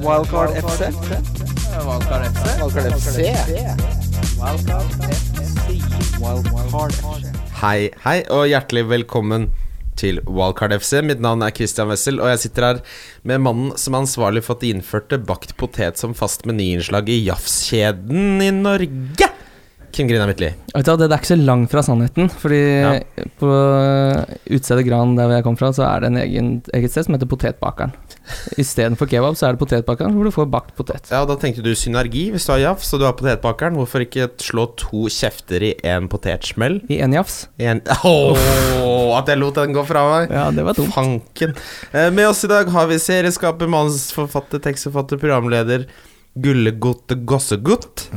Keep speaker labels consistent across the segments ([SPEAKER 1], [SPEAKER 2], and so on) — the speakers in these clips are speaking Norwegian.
[SPEAKER 1] Wildcard FC.
[SPEAKER 2] Valkar FC.
[SPEAKER 1] Wildcard FC. Wildcard FC.
[SPEAKER 3] Hei, hei, og hjertelig velkommen til Wildcard FC. Mitt navn er Christian Wessel, og jeg sitter her med mannen som er ansvarlig for at de innførte bakt potet som fast menyinnslag i Jafs-kjeden i Norge. Kim Grina Midtli.
[SPEAKER 4] Vet du, hva, det er ikke så langt fra sannheten, fordi
[SPEAKER 3] Ja.
[SPEAKER 4] på eh, utstedet Gran, der hvor jeg kom fra, så er det en egen, eget sted som heter Potetbakeren. Istedenfor kebab, så er det Potetbakeren, hvor du får bakt potet.
[SPEAKER 3] Ja, da tenkte du synergi hvis du har Jafs og du har potetbakeren. Hvorfor ikke slå to kjefter i én potetsmell?
[SPEAKER 4] I en jafs.
[SPEAKER 3] I en Åh, at jeg lot den gå fra meg!
[SPEAKER 4] Ja, det var dumt.
[SPEAKER 3] Fanken. Eh, Med oss i dag har vi serieskaper, manusforfatter, tekstforfatter, programleder, gullegodt gossegutt.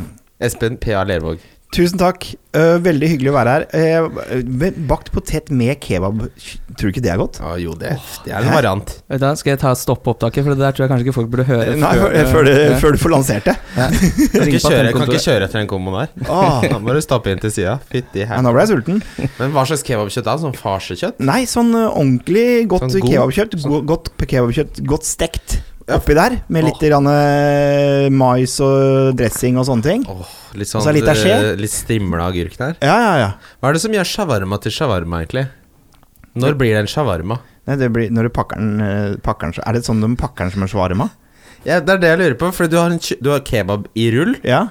[SPEAKER 3] Espen P.A. Lervåg.
[SPEAKER 5] Tusen takk. Eh, veldig hyggelig å være her. Eh, ve- bakt potet med kebab, tror du ikke det er godt?
[SPEAKER 3] Ja, jo, det, det er en variant.
[SPEAKER 4] Vet du, hva, skal jeg ta stoppe opptaket, for det der tror jeg kanskje ikke folk burde høre.
[SPEAKER 5] Nei, før, før,
[SPEAKER 4] Ja.
[SPEAKER 5] det, før du får lansert det.
[SPEAKER 3] Jeg kan
[SPEAKER 4] Ring
[SPEAKER 3] ikke
[SPEAKER 4] på
[SPEAKER 3] kjøre, jeg kan
[SPEAKER 4] telekontoret.
[SPEAKER 3] ikke kjøre etter den komboen der.
[SPEAKER 5] Ah,
[SPEAKER 3] Da må du stappe inn til sida. Fytti
[SPEAKER 5] ja,
[SPEAKER 3] her.
[SPEAKER 5] nå ble jeg sulten.
[SPEAKER 3] Men hva slags kebabkjøtt er det? Sånn farsekjøtt?
[SPEAKER 5] Nei, sånn eh, ordentlig godt
[SPEAKER 3] Sånn god-
[SPEAKER 5] kebabkjøtt. go- Godt p- kebabkjøtt, godt stekt
[SPEAKER 3] Ja.
[SPEAKER 5] oppi der, med litt grann, eh, mais og dressing og sånne ting.
[SPEAKER 3] Åh, litt
[SPEAKER 5] Og
[SPEAKER 3] sånn
[SPEAKER 5] så litt av skje.
[SPEAKER 3] eh, litt strimla agurk der.
[SPEAKER 5] Ja, ja, ja.
[SPEAKER 3] Hva er det som gjør shawarma til shawarma, egentlig? Når blir det en shawarma?
[SPEAKER 5] Nei, det blir, når du pakker den, eh, pakker den så- Er det sånn de pakker den som en shawarma?
[SPEAKER 3] Ja, det er det jeg lurer på, for du har, en, kj- du har kebab i rull.
[SPEAKER 5] Ja.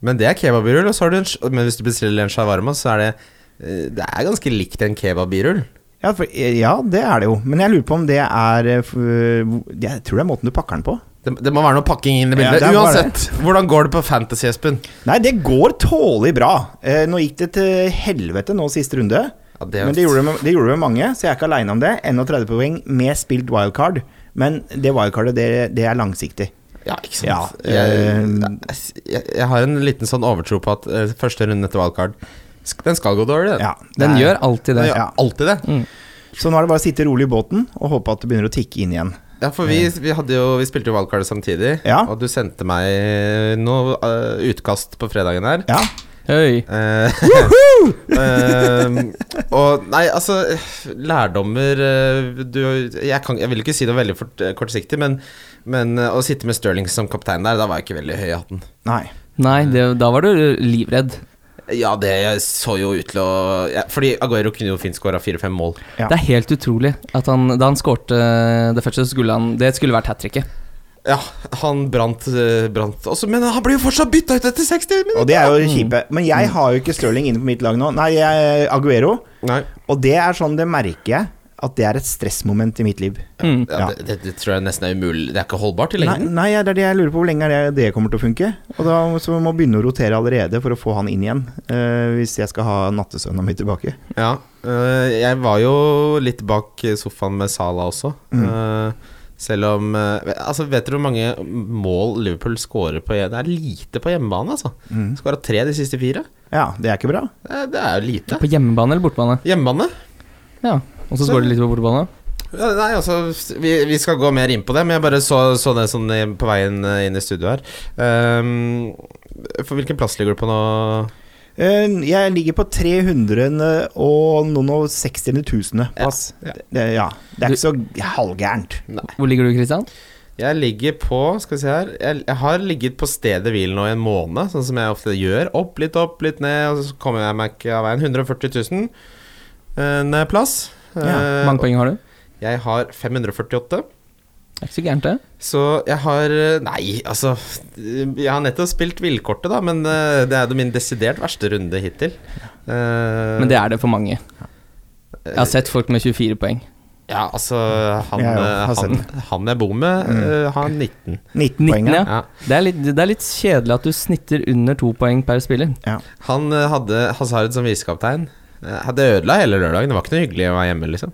[SPEAKER 3] Men det er kebab i rull, og så har du en, sj- men hvis du bestiller en shawarma, så er det eh, Det er ganske likt en kebab i rull.
[SPEAKER 5] Ja, for, eh, ja, det er det jo. Men jeg lurer på om det er eh, f- Jeg tror det er måten du pakker den på.
[SPEAKER 3] Det, det må være noe pakking inn i
[SPEAKER 5] Ja,
[SPEAKER 3] bildet.
[SPEAKER 5] det er bare det.
[SPEAKER 3] Uansett, hvordan går det på Fantasy, Espen?
[SPEAKER 5] Nei, det går tålelig bra. Eh, nå gikk det til helvete nå siste runde.
[SPEAKER 3] Ja, det er-
[SPEAKER 5] Men det gjorde, det, med, det gjorde det med mange, så jeg er ikke aleine om det. 31 poeng med spilt wildcard. Men det wildcardet, det, det er langsiktig.
[SPEAKER 3] Ja, ikke sant?
[SPEAKER 5] Ja, eh,
[SPEAKER 3] jeg, jeg, jeg har en liten sånn overtro på at eh, første runde etter wildcard sk- Den skal gå dårlig, den.
[SPEAKER 5] Ja,
[SPEAKER 4] Den
[SPEAKER 5] det er-
[SPEAKER 4] gjør alltid
[SPEAKER 3] Den
[SPEAKER 4] det.
[SPEAKER 3] gjør
[SPEAKER 5] Ja.
[SPEAKER 3] alltid det.
[SPEAKER 5] Så nå er det bare å sitte rolig i båten og håpe at det begynner å tikke inn igjen.
[SPEAKER 3] Ja, for vi, vi, hadde jo, vi spilte jo wildcard samtidig,
[SPEAKER 5] Eh. Ja.
[SPEAKER 3] og du sendte meg noe eh, utkast på fredagen her.
[SPEAKER 5] Ja,
[SPEAKER 4] Høy.
[SPEAKER 3] Eh, eh, og nei, altså Lærdommer eh, du, jeg, kan, jeg vil ikke si det veldig fort, eh, kortsiktig, men, men eh, å sitte med Stirling som kaptein der, da var jeg ikke veldig høy i hatten.
[SPEAKER 5] nei.
[SPEAKER 4] Nei, det, da var du livredd.
[SPEAKER 3] Ja, det så jo ut til å ja, Fordi Aguero kunne jo fint skåra fire-fem mål.
[SPEAKER 5] Ja.
[SPEAKER 4] Det er helt utrolig at han Da han skårte eh, det første, så skulle han Det skulle vært hat tricket.
[SPEAKER 3] Ja, han brant, eh, brant også, men han ble jo fortsatt bytta ut etter 60
[SPEAKER 5] Og
[SPEAKER 3] minutter!
[SPEAKER 5] det er jo det kjipe. Men jeg har jo ikke Stirling inne på mitt lag nå. Nei, jeg, Aguero.
[SPEAKER 3] Nei,
[SPEAKER 5] Og det er sånn, det merker jeg, at det er et stressmoment i mitt liv.
[SPEAKER 4] Mm.
[SPEAKER 3] ja,
[SPEAKER 5] Ja.
[SPEAKER 3] Det, det, det tror jeg nesten er umulig. Det er ikke holdbart i
[SPEAKER 5] Nei,
[SPEAKER 3] lengden.
[SPEAKER 5] nei, det er det jeg lurer på. Hvor lenge er det, det kommer til å funke? Og da så vi må begynne å rotere allerede for å få han inn igjen. eh, hvis jeg skal ha nattesøvna mi tilbake.
[SPEAKER 3] Ja, øh, jeg var jo litt bak sofaen med Sala også. øh, selv om øh, ve- Altså, vet dere hvor mange mål Liverpool scorer på hjemme? Det er lite på hjemmebane, altså. Mm. Skåra tre de siste fire.
[SPEAKER 5] Ja, det er ikke bra.
[SPEAKER 3] Eh, Det er jo lite.
[SPEAKER 4] På hjemmebane eller bortebane?
[SPEAKER 3] Hjemmebane?
[SPEAKER 4] Ja. Og så
[SPEAKER 3] Så-
[SPEAKER 4] skårer de litt på bortebane.
[SPEAKER 3] Ja, nei, altså vi, vi skal gå mer inn på det, men jeg bare så, så det sånn i- på veien eh, inn i studio her. Ehm, for hvilken plass ligger du på nå?
[SPEAKER 5] Eh, jeg ligger på 300 og noen og 60 000 plass.
[SPEAKER 3] Ja, ja.
[SPEAKER 5] Det, ja. det er ikke så halvgærent.
[SPEAKER 4] Hvor ligger du, Christian?
[SPEAKER 3] Jeg ligger på Skal vi se her Jeg, jeg har ligget på stedet hvil nå i en måned, sånn som jeg ofte gjør. Opp, litt opp, litt ned, og så kommer jeg meg ikke av veien. 140 000 eh, ned plass. Eh,
[SPEAKER 4] Hvor mange poeng har du?
[SPEAKER 3] Jeg har 548.
[SPEAKER 4] Det er ikke så gærent, det.
[SPEAKER 3] Så jeg har eh, Nei, altså Jeg har nettopp spilt villkortet, da, men eh, det er jo min desidert verste runde hittil. Eh,
[SPEAKER 4] Men det er det for mange. Jeg har sett folk med 24 poeng.
[SPEAKER 3] Ja, altså
[SPEAKER 4] Mm.
[SPEAKER 3] Han,
[SPEAKER 5] Jeg
[SPEAKER 3] eh,
[SPEAKER 5] har sett
[SPEAKER 3] han, han jeg bor med, eh, har 19.
[SPEAKER 4] 19,
[SPEAKER 5] 19 poeng.
[SPEAKER 4] ja.
[SPEAKER 5] Ja.
[SPEAKER 3] Ja.
[SPEAKER 4] Det, er litt, det er litt kjedelig at du snitter under to poeng per spiller.
[SPEAKER 3] Han eh, hadde Hazard som visekaptein. Eh, Det ødela hele lørdagen. Det var ikke noe hyggelig å være hjemme, liksom.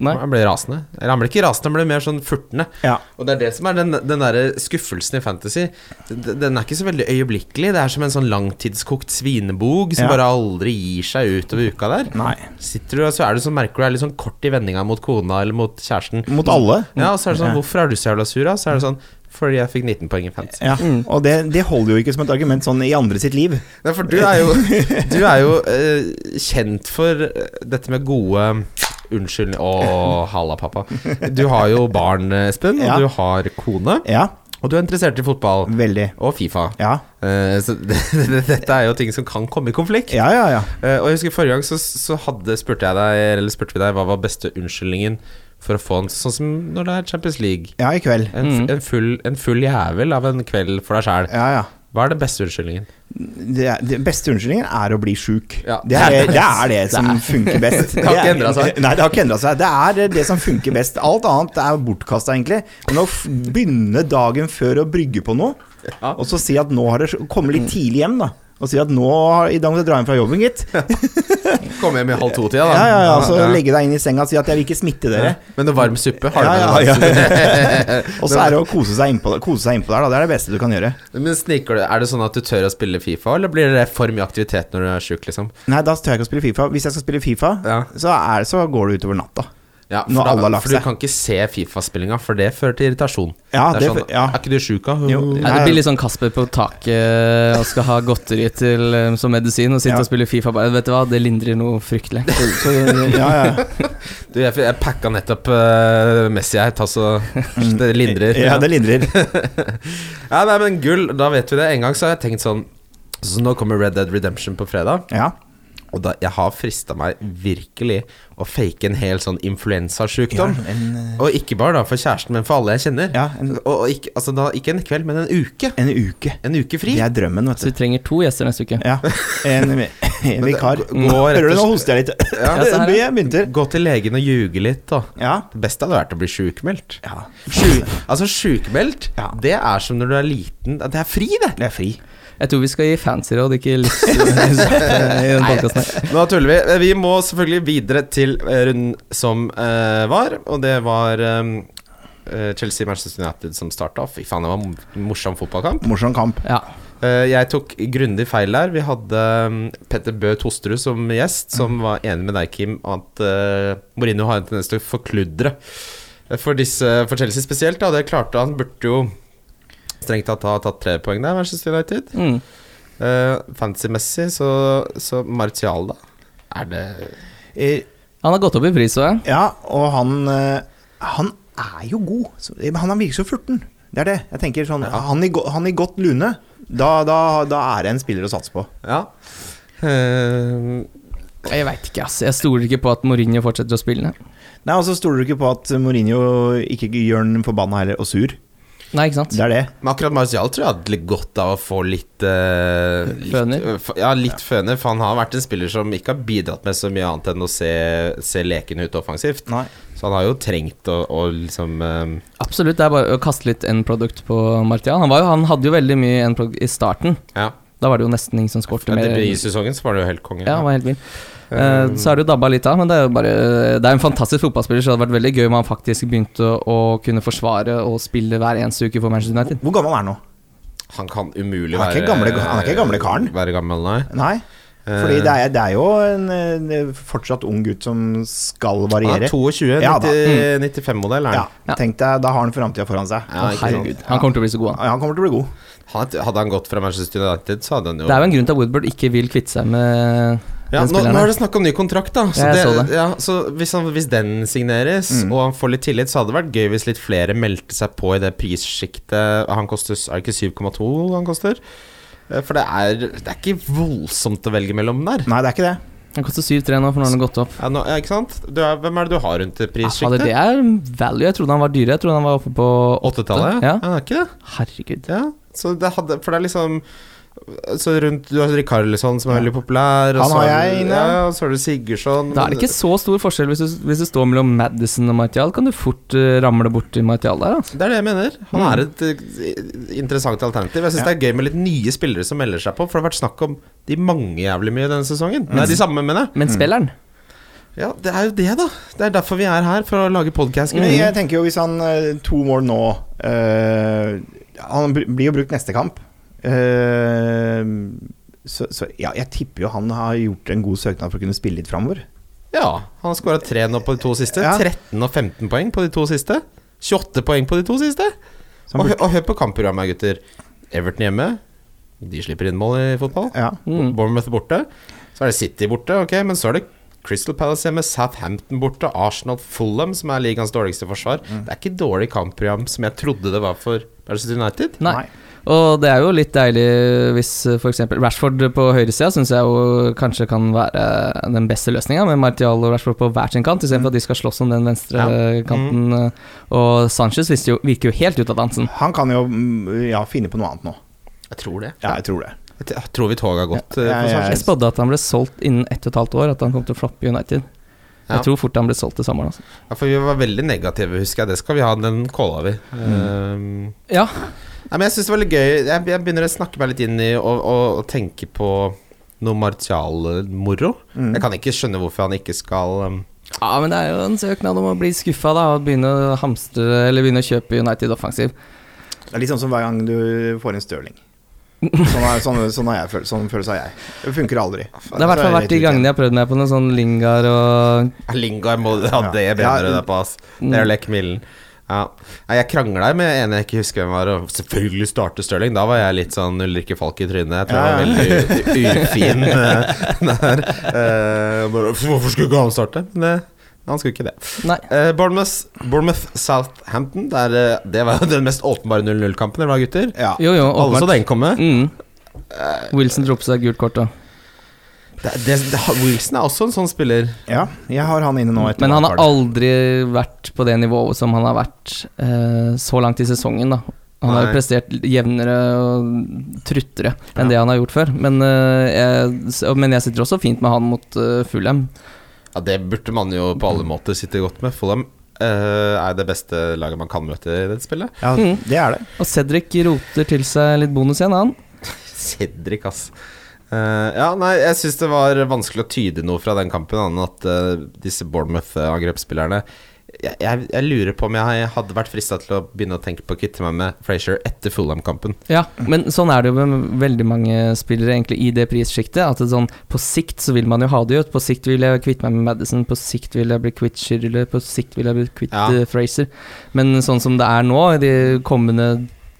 [SPEAKER 4] Nei.
[SPEAKER 3] Han ble rasende. Eller han ble ikke rasende, han ble mer sånn furtende.
[SPEAKER 5] Ja.
[SPEAKER 3] Og det er det som er den, den derre skuffelsen i fantasy. D- Den er ikke så veldig øyeblikkelig. Det er som en sånn langtidskokt svinebog som
[SPEAKER 5] Ja.
[SPEAKER 3] bare aldri gir seg utover uka der.
[SPEAKER 5] Nei.
[SPEAKER 3] Sitter du og så er du sånn, merker du er litt sånn kort i vendinga mot kona eller mot kjæresten.
[SPEAKER 5] Mot alle.
[SPEAKER 3] Ja, og så er det sånn
[SPEAKER 5] Ja.
[SPEAKER 3] Hvorfor er du så jævla sur, da? Så er det sånn Fordi jeg fikk 19 poeng i fantasy.
[SPEAKER 5] Ja. Og det, det holder jo ikke som et argument sånn i andre sitt liv.
[SPEAKER 3] Nei, for du er jo, du er jo eh, kjent for eh, dette med gode Unnskyld, å halla, pappa. Du har jo barn, eh, Espen, og
[SPEAKER 5] Ja.
[SPEAKER 3] du har kone.
[SPEAKER 5] Ja.
[SPEAKER 3] Og du er interessert i fotball
[SPEAKER 5] Veldig.
[SPEAKER 3] og Fifa.
[SPEAKER 5] Ja.
[SPEAKER 3] Eh, så dette er jo ting som kan komme i konflikt.
[SPEAKER 5] Ja, ja, ja.
[SPEAKER 3] Eh, og jeg husker Forrige gang så, så hadde, spurte jeg deg Eller spurte vi deg hva var beste unnskyldningen for å få en sånn som når det er Champions League.
[SPEAKER 5] Ja, i kveld.
[SPEAKER 3] En, f- en, full, en full jævel av en kveld for deg sjæl.
[SPEAKER 5] Ja, ja.
[SPEAKER 3] Hva er den beste unnskyldningen?
[SPEAKER 5] Det, er, det beste unnskyldningen er å bli sjuk.
[SPEAKER 3] Ja.
[SPEAKER 5] Det, er, det er det som funker best.
[SPEAKER 3] Det har ikke
[SPEAKER 5] er-
[SPEAKER 3] endret seg.
[SPEAKER 5] Nei, det har ikke endra seg. Det er det- det som funker best. Alt annet er bortkasta, egentlig. Men å f- begynne dagen før å brygge på noe,
[SPEAKER 3] Ja.
[SPEAKER 5] og så si at nå har det Komme litt tidlig hjem, da. Og si at nå har- i dag må jeg dra hjem fra jobben, gitt.
[SPEAKER 3] Komme hjem i halv to-tida, da.
[SPEAKER 5] Ja, ja, ja. altså, Så
[SPEAKER 3] Ja.
[SPEAKER 5] legge deg inn i senga og si at jeg vil ikke smitte dere.
[SPEAKER 3] Men noe varm suppe har du
[SPEAKER 5] Ja,
[SPEAKER 3] med
[SPEAKER 5] ja,
[SPEAKER 3] deg,
[SPEAKER 5] ja,
[SPEAKER 3] da.
[SPEAKER 5] Og så er det å kose seg innpå kose seg innpå der, da. Det er det beste du kan gjøre.
[SPEAKER 3] Men sniker du Er det sånn at du tør å spille Fifa, eller blir det for mye aktivitet når du er sjuk, liksom?
[SPEAKER 5] Nei, da tør jeg ikke å spille Fifa. Hvis jeg skal spille Fifa,
[SPEAKER 3] Ja.
[SPEAKER 5] så, er, så går det utover natta.
[SPEAKER 3] Ja,
[SPEAKER 5] Når alle har
[SPEAKER 3] da,
[SPEAKER 5] lagt
[SPEAKER 3] for du
[SPEAKER 5] seg.
[SPEAKER 3] kan ikke se Fifa-spillinga, for det fører til irritasjon.
[SPEAKER 5] Ja,
[SPEAKER 3] det er,
[SPEAKER 5] det-
[SPEAKER 3] sånn,
[SPEAKER 5] ja.
[SPEAKER 3] er ikke du sjuk, da?
[SPEAKER 5] Jo.
[SPEAKER 4] Nei, det blir litt sånn Kasper på taket eh, og skal ha godteri til, eh, som medisin og sitte
[SPEAKER 5] Ja.
[SPEAKER 4] og spille Fifa. Bare, vet du hva, det lindrer noe fryktelig.
[SPEAKER 5] Så, så, ja, ja.
[SPEAKER 3] Du, jeg, jeg packa nettopp eh, Messi her, ta så det lindrer.
[SPEAKER 5] Ja, det lindrer.
[SPEAKER 3] Ja, nei, men gull, da vet vi det. En gang så har jeg tenkt sånn Så nå kommer Red Dead Redemption på fredag.
[SPEAKER 5] Ja.
[SPEAKER 3] Og da, jeg har frista meg virkelig å fake en hel sånn influensasjukdom.
[SPEAKER 5] en, eh,
[SPEAKER 3] Og ikke bare da for kjæresten, men for alle jeg kjenner.
[SPEAKER 5] Ja, en-
[SPEAKER 3] Og, og ikke, altså da, ikke en kveld, men en uke.
[SPEAKER 5] en uke.
[SPEAKER 3] En uke fri.
[SPEAKER 5] Det er drømmen, vet
[SPEAKER 4] Så
[SPEAKER 5] du.
[SPEAKER 4] vi trenger to gjester neste uke.
[SPEAKER 5] Ja. En, en vikar.
[SPEAKER 3] gå rett
[SPEAKER 5] Hører du, nå
[SPEAKER 3] og-
[SPEAKER 5] hoster jeg litt.
[SPEAKER 3] Ja,
[SPEAKER 4] se her, ja.
[SPEAKER 5] Jeg begynte.
[SPEAKER 3] Gå til legen og ljuge litt, da.
[SPEAKER 5] Ja.
[SPEAKER 3] Det beste hadde vært å bli sjukmeldt.
[SPEAKER 5] ja.
[SPEAKER 3] Sju- altså, sjukmeldt,
[SPEAKER 5] Ja.
[SPEAKER 3] det er som når du er liten. Det er fri, det!
[SPEAKER 5] Det er fri.
[SPEAKER 4] Jeg tror vi skal gi fancy råd, ikke livs... i den podcasten her.
[SPEAKER 3] Nå tuller vi. Eh, Vi må selvfølgelig videre til eh, runden som eh, var, og det var eh, eh, Chelsea-Manchester United som starta. Fy faen, det var en morsom fotballkamp.
[SPEAKER 5] Morsom kamp.
[SPEAKER 4] Ja.
[SPEAKER 3] Eh, jeg tok grundig feil der. Vi hadde eh, Petter Bø Tosterud som gjest, som var enig med deg, Kim, at eh, Mourinho har en tendens til å forkludre Eh, for, disse, for Chelsea spesielt. Da. Det klarte han. Burde jo strengt tatt ha tatt tre poeng der, Manchester United.
[SPEAKER 4] Mm.
[SPEAKER 3] Uh, Fancy-messig, så, så Martial, da. Er det
[SPEAKER 5] Eh,
[SPEAKER 4] Han har gått opp i pris òg, ja.
[SPEAKER 5] Ja, og han eh, Han er jo god. Så, men han er virker så furten. Det er det. Jeg tenker sånn han, i, go- han i godt lune, da, da, da er det en spiller å satse på.
[SPEAKER 3] Ja. Eh,
[SPEAKER 4] Jeg veit ikke, ass. Jeg stoler ikke på at Mourinho fortsetter å spille.
[SPEAKER 5] Nei, Og så stoler du ikke på at Mourinho ikke gjør den forbanna heller, og sur.
[SPEAKER 4] Nei, ikke sant?
[SPEAKER 5] Det er det.
[SPEAKER 3] men akkurat Martial tror jeg hadde litt godt av å få litt eh, litt-
[SPEAKER 4] Føner?
[SPEAKER 3] f- Ja, litt føner. For han har vært en spiller som ikke har bidratt med så mye annet enn å se, se leken ut offensivt.
[SPEAKER 5] Nei.
[SPEAKER 3] Så han har jo trengt å, å liksom eh,
[SPEAKER 4] Absolutt. Det er bare å kaste litt end product på Martial. Han, var jo, han hadde jo veldig mye end product i starten.
[SPEAKER 3] Ja.
[SPEAKER 4] Da var det jo nesten ingen som skårte
[SPEAKER 3] ja
[SPEAKER 4] mer.
[SPEAKER 3] det ble I sesongen så var det jo helt konge.
[SPEAKER 4] Ja, han var helt vill. Eh, så er det jo dabba litt av, men det er jo bare Det er en fantastisk fotballspiller, så det hadde vært veldig gøy om han faktisk begynte å, å kunne forsvare og spille hver eneste uke for Manchester United.
[SPEAKER 5] Hvor gammel er han nå?
[SPEAKER 3] Han kan umulig
[SPEAKER 5] Han er
[SPEAKER 3] være
[SPEAKER 5] ikke gamle- han er ikke gamle karen.
[SPEAKER 3] Være gammel, nei.
[SPEAKER 5] Nei. Fordi
[SPEAKER 3] Eh.
[SPEAKER 5] det er, det er jo en, eh, fortsatt ung gutt som skal
[SPEAKER 3] Han
[SPEAKER 5] variere.
[SPEAKER 3] er 22,
[SPEAKER 5] Ja, da. Mm.
[SPEAKER 3] 90 95-modell er
[SPEAKER 5] Ja,
[SPEAKER 3] han.
[SPEAKER 4] Ja.
[SPEAKER 5] tenk deg, da har han framtida foran seg.
[SPEAKER 3] Ja,
[SPEAKER 4] Å,
[SPEAKER 3] ikke sant.
[SPEAKER 4] herregud. Han kommer til å bli så god, han.
[SPEAKER 5] Ja, han kommer til å bli god.
[SPEAKER 3] Han- Hadde han gått fra Manchester United, så hadde han jo
[SPEAKER 4] Det er jo en grunn til at Woodbird ikke vil kvitte seg med
[SPEAKER 3] Ja,
[SPEAKER 4] den
[SPEAKER 3] nå, nå
[SPEAKER 4] spilleren.
[SPEAKER 3] er
[SPEAKER 4] her.
[SPEAKER 3] det snakk om ny kontrakt, da. Så,
[SPEAKER 4] Ja, jeg
[SPEAKER 3] det,
[SPEAKER 4] så det. Mm.
[SPEAKER 3] Ja, så hvis, han, hvis den signeres, og han får litt tillit, så hadde det vært gøy hvis litt flere meldte seg på i det prissjiktet han koster. Er det ikke 7,2 han koster? Eh, For det er, det er ikke voldsomt å velge mellom der.
[SPEAKER 5] Nei, det er ikke det.
[SPEAKER 4] Han koster 7-3 nå, for nå har han gått opp.
[SPEAKER 3] Ja, nå, ja, ikke sant? Du er, hvem er det du har rundt det
[SPEAKER 4] Ja, fader, det
[SPEAKER 3] prissjiktet?
[SPEAKER 4] er value. Jeg trodde han var dyrere. Jeg trodde han var oppe på
[SPEAKER 3] Åttetallet?
[SPEAKER 4] Ja.
[SPEAKER 3] Ja. ja, er ikke det?
[SPEAKER 4] Herregud.
[SPEAKER 3] Ja. Så det hadde, for det er liksom så rundt, Du har Rikarlisson, som er veldig populær. og
[SPEAKER 5] Han
[SPEAKER 3] så har
[SPEAKER 5] har
[SPEAKER 3] du-
[SPEAKER 5] jeg inne.
[SPEAKER 3] Ja, og så har du Sigurdsson.
[SPEAKER 4] Da er det ikke så stor forskjell hvis du, hvis du står mellom Madison og Martial. Kan du fort eh, ramle borti Martial der, altså.
[SPEAKER 3] Det er det jeg mener. Han er et eh, interessant alternativ. Jeg syns det er gøy med litt nye spillere som melder seg på, for det har vært snakk om de mange jævlig mye denne sesongen. Nei, de samme, mener jeg.
[SPEAKER 4] Men
[SPEAKER 3] Mm.
[SPEAKER 4] spilleren
[SPEAKER 3] Ja, det er jo det, da. Det er derfor vi er her, for å lage podkast.
[SPEAKER 5] Men jeg tenker jo hvis han eh, to mål nå eh, Han br- blir jo brukt neste kamp. Eh, så, så ja, jeg tipper jo han har gjort en god søknad for å kunne spille litt framover.
[SPEAKER 3] Ja, han har skåra tre nå på de to siste.
[SPEAKER 5] Ja.
[SPEAKER 3] 13 og 15 poeng på de to siste. 28 poeng på de to siste.
[SPEAKER 5] Så
[SPEAKER 3] Og,
[SPEAKER 5] han
[SPEAKER 3] hø- og hør på kampprogrammet, gutter. Everton hjemme. De slipper inn mål i fotball.
[SPEAKER 5] Ja.
[SPEAKER 4] Mm.
[SPEAKER 3] Bournemouth borte. Så er det City borte, ok, men så er det Crystal Palace hjemme, Southampton borte, Arsenal Fulham, som er ligaens dårligste forsvar. Det er ikke dårlig kampprogram som jeg trodde det var for Manchester United.
[SPEAKER 4] Nei. Og det er jo litt deilig hvis f.eks. Rashford på høyresida syns jeg jo kanskje kan være den beste løsninga, med Martial og Rashford på hver sin kant, istedenfor at de skal slåss om den venstre kanten. eh. Og Sanchez visste jo, virker jo helt ut av dansen.
[SPEAKER 5] Han kan jo mm, ja, finne på noe annet nå.
[SPEAKER 3] Jeg tror det.
[SPEAKER 5] Ja, jeg tror det.
[SPEAKER 3] Jeg t- jeg tror vi toget har gått. eh,
[SPEAKER 5] Ja,
[SPEAKER 3] for
[SPEAKER 5] ja,
[SPEAKER 3] Sanchez.
[SPEAKER 4] Jeg spådde at han ble solgt innen ett og et halvt år, at han kom til å floppe i United.
[SPEAKER 3] Ja.
[SPEAKER 4] Jeg tror fort han ble solgt til sommeren. Altså.
[SPEAKER 3] Ja, for vi var veldig negative, husker jeg. Det skal vi ha, den kåla vi. Eh,
[SPEAKER 4] Ja,
[SPEAKER 3] Nei, men jeg synes det var litt gøy jeg, jeg begynner å snakke meg litt inn i Og, og, og tenke på noe Martial-moro Jeg kan ikke skjønne hvorfor han ikke skal um,
[SPEAKER 4] Ja, men det er jo en søknad om å bli skuffa da, og begynne å hamstre eller begynne å kjøpe United offensiv.
[SPEAKER 5] Det er litt sånn som hver gang du får en Stirling. Sånn, er, sånn, sånn, har jeg, føl- sånn følelse har jeg. Det funker aldri.
[SPEAKER 4] Det har i hvert fall vært de gangene jeg har prøvd meg på noen sånn Lingar og
[SPEAKER 3] Lingard må ha det
[SPEAKER 5] Ja.
[SPEAKER 3] bedre
[SPEAKER 5] Ja,
[SPEAKER 3] der på ass Det er jo lekmillen ja. Nei, Jeg kranglet med en jeg ikke husker hvem var Og selvfølgelig starte Stirling Da var jeg litt sånn Ulrikke Falk i trynet Jeg tror
[SPEAKER 5] Ja,
[SPEAKER 3] jeg var veldig u- ufin eh, der Eh, bare, Hvorfor skulle ikke han starte? Nei, han skulle ikke det
[SPEAKER 4] Nei.
[SPEAKER 3] Eh, Bournemouth, Bournemouth Southampton der, eh, Det var jo den mest åpenbare 0-0-kampen Eller hva gutter?
[SPEAKER 5] Ja.
[SPEAKER 4] Jo, jo,
[SPEAKER 3] Alle så
[SPEAKER 4] åpenbart.
[SPEAKER 3] den komme
[SPEAKER 4] Mm. Wilson dro på seg gult kort, da.
[SPEAKER 3] det, det, det, Wilson er også en sånn spiller
[SPEAKER 5] ja, jeg har han inne nå. Etter
[SPEAKER 4] Men han har
[SPEAKER 5] wildcard.
[SPEAKER 4] aldri vært på det nivået som han har vært eh, så langt i sesongen, da. Han har
[SPEAKER 3] Nei.
[SPEAKER 4] jo prestert jevnere og truttere enn det han har gjort før. Men, eh, jeg, s- men jeg sitter også fint med han mot uh, Fulham.
[SPEAKER 3] Ja, det burde man jo på alle måter sitte godt med Fulham eh, er det beste laget man kan møte i dette spillet
[SPEAKER 5] Ja,
[SPEAKER 4] Mm.
[SPEAKER 5] det er det.
[SPEAKER 4] Og Cedric roter til seg litt bonus igjen, han.
[SPEAKER 3] Cedric, ass. Eh, ja, nei, jeg syns det var vanskelig å tyde noe fra den kampen, annet enn at eh, disse Bournemouth-angrepsspillerne jeg, jeg, jeg lurer på om jeg hadde vært frista til å begynne å tenke på å kvitte meg med Frazier etter Fulham-kampen.
[SPEAKER 4] Ja, men sånn er det jo med veldig mange spillere egentlig i det prissjiktet. At det sånn, på sikt så vil man jo ha det ut. På sikt vil jeg kvitte meg med Madison, på sikt vil jeg bli kvitt Shirley, på sikt vil jeg bli kvitt
[SPEAKER 3] Ja.
[SPEAKER 4] eh, Fraser. Men sånn som det er nå, i de kommende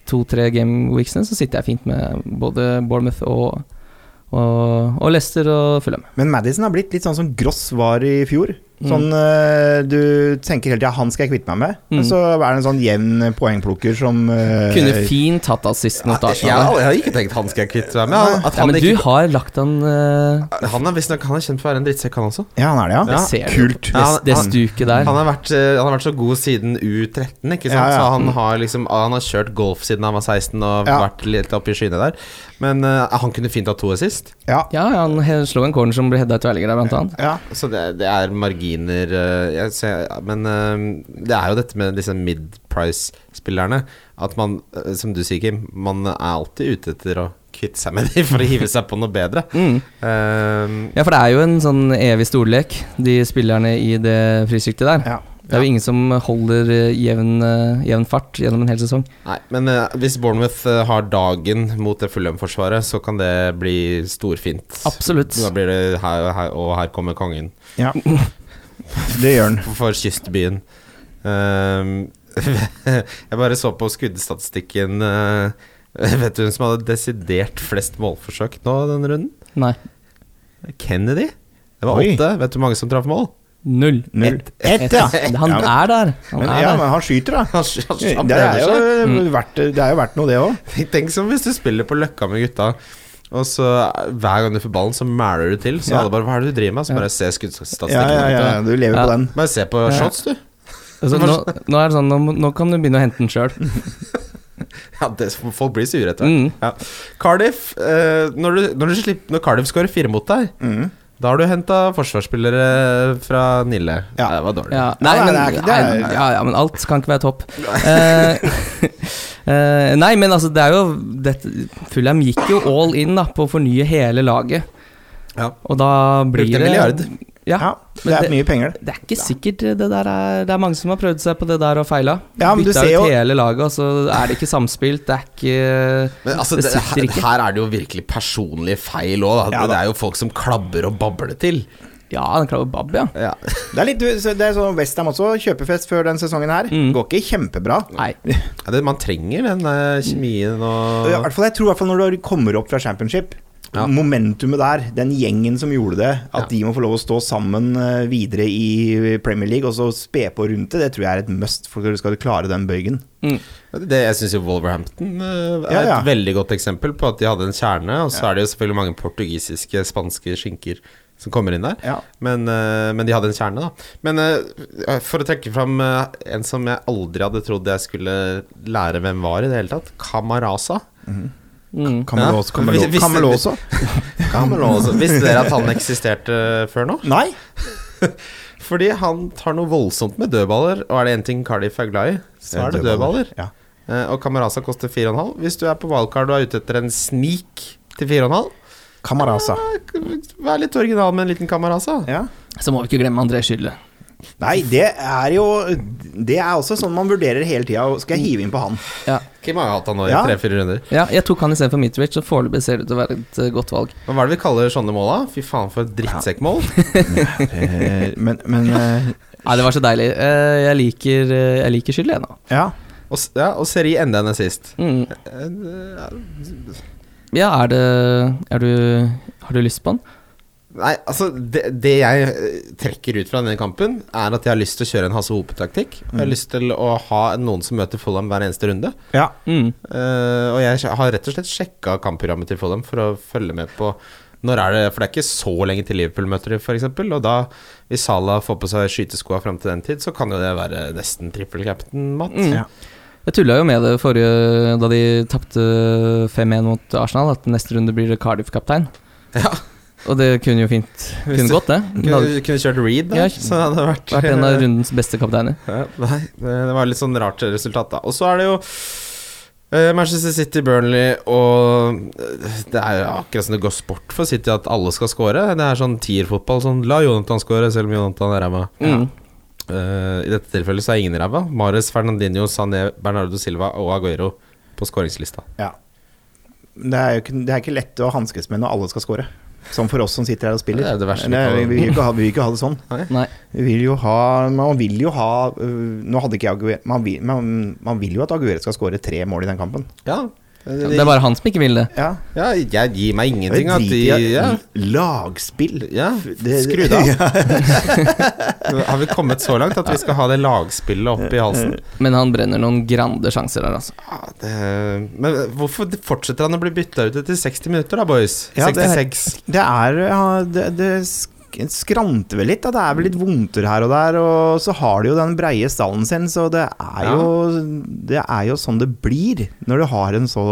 [SPEAKER 4] to-tre gameweeksene, så sitter jeg fint med både Bournemouth og, og, og Leicester og Fulham.
[SPEAKER 5] Men Madison har blitt litt sånn som Gross var i fjor. Sånn eh, Du tenker hele tida 'han skal jeg kvitte meg med',
[SPEAKER 4] Mm.
[SPEAKER 5] men så er det en sånn jevn poengplukker som eh,
[SPEAKER 4] Kunne fint hatt assisten mot
[SPEAKER 3] jeg,
[SPEAKER 4] Arsenal.
[SPEAKER 3] jeg har ikke tenkt han skal jeg kvitte meg med. Han, at
[SPEAKER 4] Ja,
[SPEAKER 3] han,
[SPEAKER 4] men du
[SPEAKER 3] ikke,
[SPEAKER 4] har lagt han eh,
[SPEAKER 3] han er visstnok han er kjent for å være en drittsekk, han også.
[SPEAKER 5] Ja, han er det, ja.
[SPEAKER 4] Det ser du.
[SPEAKER 5] Kult.
[SPEAKER 4] det,
[SPEAKER 3] Ja,
[SPEAKER 4] det
[SPEAKER 3] han-
[SPEAKER 4] stuket der.
[SPEAKER 3] Han har, vært, eh, han har vært så god siden U13, ikke sant?
[SPEAKER 5] Ja, ja.
[SPEAKER 3] Så han har liksom Han har kjørt golf siden han var 16 og
[SPEAKER 5] Ja.
[SPEAKER 3] vært litt oppe i skyene der. Men eh, han kunne fint hatt to assist.
[SPEAKER 5] Ja.
[SPEAKER 4] Ja, han he- slo en corner som ble heada i tverrligger der, blant annet.
[SPEAKER 5] ja.
[SPEAKER 3] Så det, det er marginer eh, jeg ser, Men eh, det er jo dette med disse mid-price-spillerne. At man, eh, som du sier, Kim, man er alltid ute etter å kvitte seg med dem for å hive seg på noe bedre.
[SPEAKER 4] Mm.
[SPEAKER 3] Eh,
[SPEAKER 4] Ja, for det er jo en sånn evig storlek, de spillerne i det frisyktet der.
[SPEAKER 5] ja.
[SPEAKER 4] Det er jo ingen som holder eh, jevn, eh, jevn fart gjennom en hel sesong.
[SPEAKER 3] nei, men eh, hvis Bournemouth eh, har dagen mot det Fulham-forsvaret, så kan det bli storfint.
[SPEAKER 4] Absolutt.
[SPEAKER 3] Da blir det her, her, Og her kommer kongen.
[SPEAKER 5] ja. Det gjør han.
[SPEAKER 3] for kystbyen. Ehm, jeg bare så på skuddstatistikken eh, Vet du hvem som hadde desidert flest målforsøk nå denne runden?
[SPEAKER 4] Nei.
[SPEAKER 3] Kennedy. Det var
[SPEAKER 5] Oi.
[SPEAKER 3] åtte. Vet du hvor mange som traff mål?
[SPEAKER 4] Null.
[SPEAKER 5] Null. Ett, ja.
[SPEAKER 4] Han
[SPEAKER 5] Ja,
[SPEAKER 4] er der. Han
[SPEAKER 5] men,
[SPEAKER 4] er
[SPEAKER 5] ja,
[SPEAKER 4] der.
[SPEAKER 5] men han skyter, da.
[SPEAKER 3] Han, han, han
[SPEAKER 5] Det er
[SPEAKER 3] prøver
[SPEAKER 5] jo eh,
[SPEAKER 3] seg.
[SPEAKER 5] verdt, det er jo verdt noe, det òg.
[SPEAKER 3] Tenk- Tenk som hvis du spiller på Løkka med gutta, og så hver gang du får ballen, så mæler du til. Så
[SPEAKER 5] Ja.
[SPEAKER 3] alle bare Hva er det du driver med? Så
[SPEAKER 4] Ja.
[SPEAKER 3] bare se
[SPEAKER 5] Ja,
[SPEAKER 3] skuddstatistikken.
[SPEAKER 5] ja, ja, du lever
[SPEAKER 4] Ja.
[SPEAKER 5] på den.
[SPEAKER 3] Bare se på
[SPEAKER 4] Ja.
[SPEAKER 3] shots, du.
[SPEAKER 4] Altså, nå, nå er det sånn, nå, må- nå kan du begynne å hente den sjøl.
[SPEAKER 3] Ja, det, folk blir sure etter hvert.
[SPEAKER 4] Mm.
[SPEAKER 3] Ja. Cardiff eh, når, du, når, du slipper, når Cardiff skårer fire mot deg,
[SPEAKER 5] Mm.
[SPEAKER 3] da har du henta forsvarsspillere fra Nille.
[SPEAKER 5] Ja.
[SPEAKER 3] Nei, Det var dårlig.
[SPEAKER 4] Ja.
[SPEAKER 5] Nei,
[SPEAKER 4] Nei,
[SPEAKER 5] nei,
[SPEAKER 4] men,
[SPEAKER 5] det er ikke- det er-
[SPEAKER 4] nei, ja, ja, men alt kan ikke være topp. Eh, eh, nei, men altså, det er jo dette, Fulham gikk jo all in da, på å fornye hele laget.
[SPEAKER 3] Ja.
[SPEAKER 4] Og da blir
[SPEAKER 3] Brukte en milliard.
[SPEAKER 4] det Ja,
[SPEAKER 5] Ja,
[SPEAKER 4] men
[SPEAKER 5] det er
[SPEAKER 4] det-
[SPEAKER 5] mye penger, det.
[SPEAKER 4] Det er ikke sikkert det der er Det er mange som har prøvd seg på det der og feila.
[SPEAKER 5] Ja, men du
[SPEAKER 4] Bytta
[SPEAKER 5] ser jo-
[SPEAKER 4] ut hele laget, og så er det ikke samspilt. Det er ikke
[SPEAKER 3] Men altså,
[SPEAKER 4] Det
[SPEAKER 3] det,
[SPEAKER 4] sitter
[SPEAKER 3] her,
[SPEAKER 4] ikke.
[SPEAKER 3] her er det jo virkelig personlige feil òg.
[SPEAKER 5] Ja,
[SPEAKER 3] det
[SPEAKER 5] da.
[SPEAKER 3] er jo folk som klabber og babler til.
[SPEAKER 4] Ja, den klarer Bab, ja.
[SPEAKER 3] Ja.
[SPEAKER 5] Det er litt du- så det er sånn Westham også, kjøpefest før den sesongen her.
[SPEAKER 4] Mm.
[SPEAKER 5] Går ikke kjempebra.
[SPEAKER 4] Nei.
[SPEAKER 3] det, man trenger den eh, kjemien og
[SPEAKER 5] I hvert fall, jeg tror i hvert fall når du kommer opp fra championship,
[SPEAKER 3] Ja.
[SPEAKER 5] Momentumet der, den gjengen som gjorde det, at de må få lov å stå sammen eh, videre i Premier League og så spe på rundt det, det tror jeg er et must for at du skal klare den bøygen.
[SPEAKER 4] Mm.
[SPEAKER 3] Det, jeg syns jo Wolverhampton eh, er
[SPEAKER 5] Ja, ja.
[SPEAKER 3] et veldig godt eksempel på at de hadde en kjerne, og så er det jo selvfølgelig mange portugisiske, spanske skinker som kommer inn der,
[SPEAKER 5] Ja.
[SPEAKER 3] men, eh, men de hadde en kjerne, da. Men eh, for å trekke fram eh, en som jeg aldri hadde trodd jeg skulle lære hvem var i det hele tatt, Kamaraza.
[SPEAKER 4] Mm.
[SPEAKER 3] Ja.
[SPEAKER 5] Kamelås,
[SPEAKER 3] Hvis- hvis-
[SPEAKER 5] Kamelås
[SPEAKER 3] Kamaraza. altså, Visste dere at han eksisterte eh, før nå?
[SPEAKER 5] Nei!
[SPEAKER 3] Fordi han tar noe voldsomt med dødballer, og er det én ting Cardiff er glad i, så er det dødballer.
[SPEAKER 5] Ja.
[SPEAKER 3] Eh, Og Kamaraza koster 4,5. Hvis du er på wildcard og er ute etter en sneak til 4,5 altså.
[SPEAKER 5] Kamarasa.
[SPEAKER 3] Ah, Vær litt original med en liten altså. Kamaraza.
[SPEAKER 5] Ja.
[SPEAKER 4] Så må vi ikke glemme André Skylde.
[SPEAKER 5] Nei, det er jo Det er også sånn man vurderer hele tida. Skal jeg hive inn på han?
[SPEAKER 4] Ja.
[SPEAKER 3] Kim har jo hatt han nå i
[SPEAKER 5] Ja.
[SPEAKER 3] tre-fire runder.
[SPEAKER 4] ja, jeg tok han istedenfor Mitrovic, og foreløpig ser det ut til å være et eh, godt valg.
[SPEAKER 3] Men hva er det vi kaller sånne mål, da? Fy faen, for et drittsekkmål.
[SPEAKER 5] Eh, men men eh,
[SPEAKER 4] Nei, det var så deilig. Eh, Jeg liker, eh, jeg liker Skylde ennå.
[SPEAKER 5] ja.
[SPEAKER 3] Og, s- ja, og Seri enda en assist.
[SPEAKER 4] Mm.
[SPEAKER 3] Eh, eh,
[SPEAKER 4] Ja, er det er du, Har du lyst på han?
[SPEAKER 3] Nei, altså det, det jeg eh, trekker ut fra denne kampen, er at jeg har lyst til å kjøre en Hasse Hope-taktikk. Og Jeg har lyst til å ha noen som møter Fulham hver eneste runde.
[SPEAKER 5] ja.
[SPEAKER 4] Mm.
[SPEAKER 3] Eh, og jeg har rett og slett sjekka kampprogrammet til Fulham for å følge med på når er det For det er ikke så lenge til Liverpool møter dem, f.eks. Og da, hvis Salah får på seg skyteskoa fram til den tid, så kan jo det være nesten trippel captain, Matt.
[SPEAKER 4] Mm.
[SPEAKER 5] Ja.
[SPEAKER 4] Jeg tulla jo med det forrige da de tapte 5-1 mot Arsenal, at neste runde blir det Cardiff-kaptein.
[SPEAKER 3] Ja.
[SPEAKER 4] Og det kunne jo fint
[SPEAKER 3] Hvis
[SPEAKER 4] Kunne
[SPEAKER 3] du-
[SPEAKER 4] gått, det. Det hadde
[SPEAKER 3] Kunne, kunne kjørt Reed, da.
[SPEAKER 4] Ja,
[SPEAKER 3] så hadde det vært,
[SPEAKER 4] vært en av rundens beste kapteiner.
[SPEAKER 3] Ja, Nei, det, det var litt sånn rart resultat, da. Og så er det jo eh, Manchester City, Burnley og eh, Det er jo akkurat som det går sport for City at alle skal score. Det er sånn tierfotball. Sånn, la Jonathan score, selv om Jonathan er ræva.
[SPEAKER 4] Mm.
[SPEAKER 3] Eh, I dette tilfellet så er ingen ræva. Mares, Fernandinho, Sané, Bernardo Silva og Aguero på skåringslista.
[SPEAKER 5] ja. Det, er jo ikke, det er ikke lett å hanskes med når alle skal score. Som for oss som sitter her og spiller.
[SPEAKER 3] Det er det verste vi
[SPEAKER 5] vi,
[SPEAKER 3] kan-
[SPEAKER 5] vil jo ikke ha, vi vil ikke ha det sånn.
[SPEAKER 4] Nei.
[SPEAKER 5] Vi vil jo ha, man vil jo ha øh, Nå hadde ikke Aguero man vil, man, man vil jo at Aguero skal skåre tre mål i den kampen.
[SPEAKER 3] Ja,
[SPEAKER 4] Det er bare han som ikke vil det.
[SPEAKER 5] Ja.
[SPEAKER 3] ja, jeg gir meg ingenting. At de,
[SPEAKER 5] Drit i
[SPEAKER 3] ja,
[SPEAKER 5] at- Lagspill.
[SPEAKER 3] ja,
[SPEAKER 5] det-
[SPEAKER 3] skru det av. Har vi kommet så langt at vi skal ha det lagspillet opp i halsen?
[SPEAKER 4] Men han brenner noen grande sjanser her, altså.
[SPEAKER 3] Ja, det... Men hvorfor fortsetter han å bli bytta ut etter 60 minutter, da, boys?
[SPEAKER 5] Ja, det-
[SPEAKER 3] 66.
[SPEAKER 5] Det er ja, det, det sk- skranter vel litt. Da. Det er vel litt vondter her og der. Og så har de jo den breie stallen sin, så det er,
[SPEAKER 3] Ja.
[SPEAKER 5] jo, det er jo sånn det blir når du har en så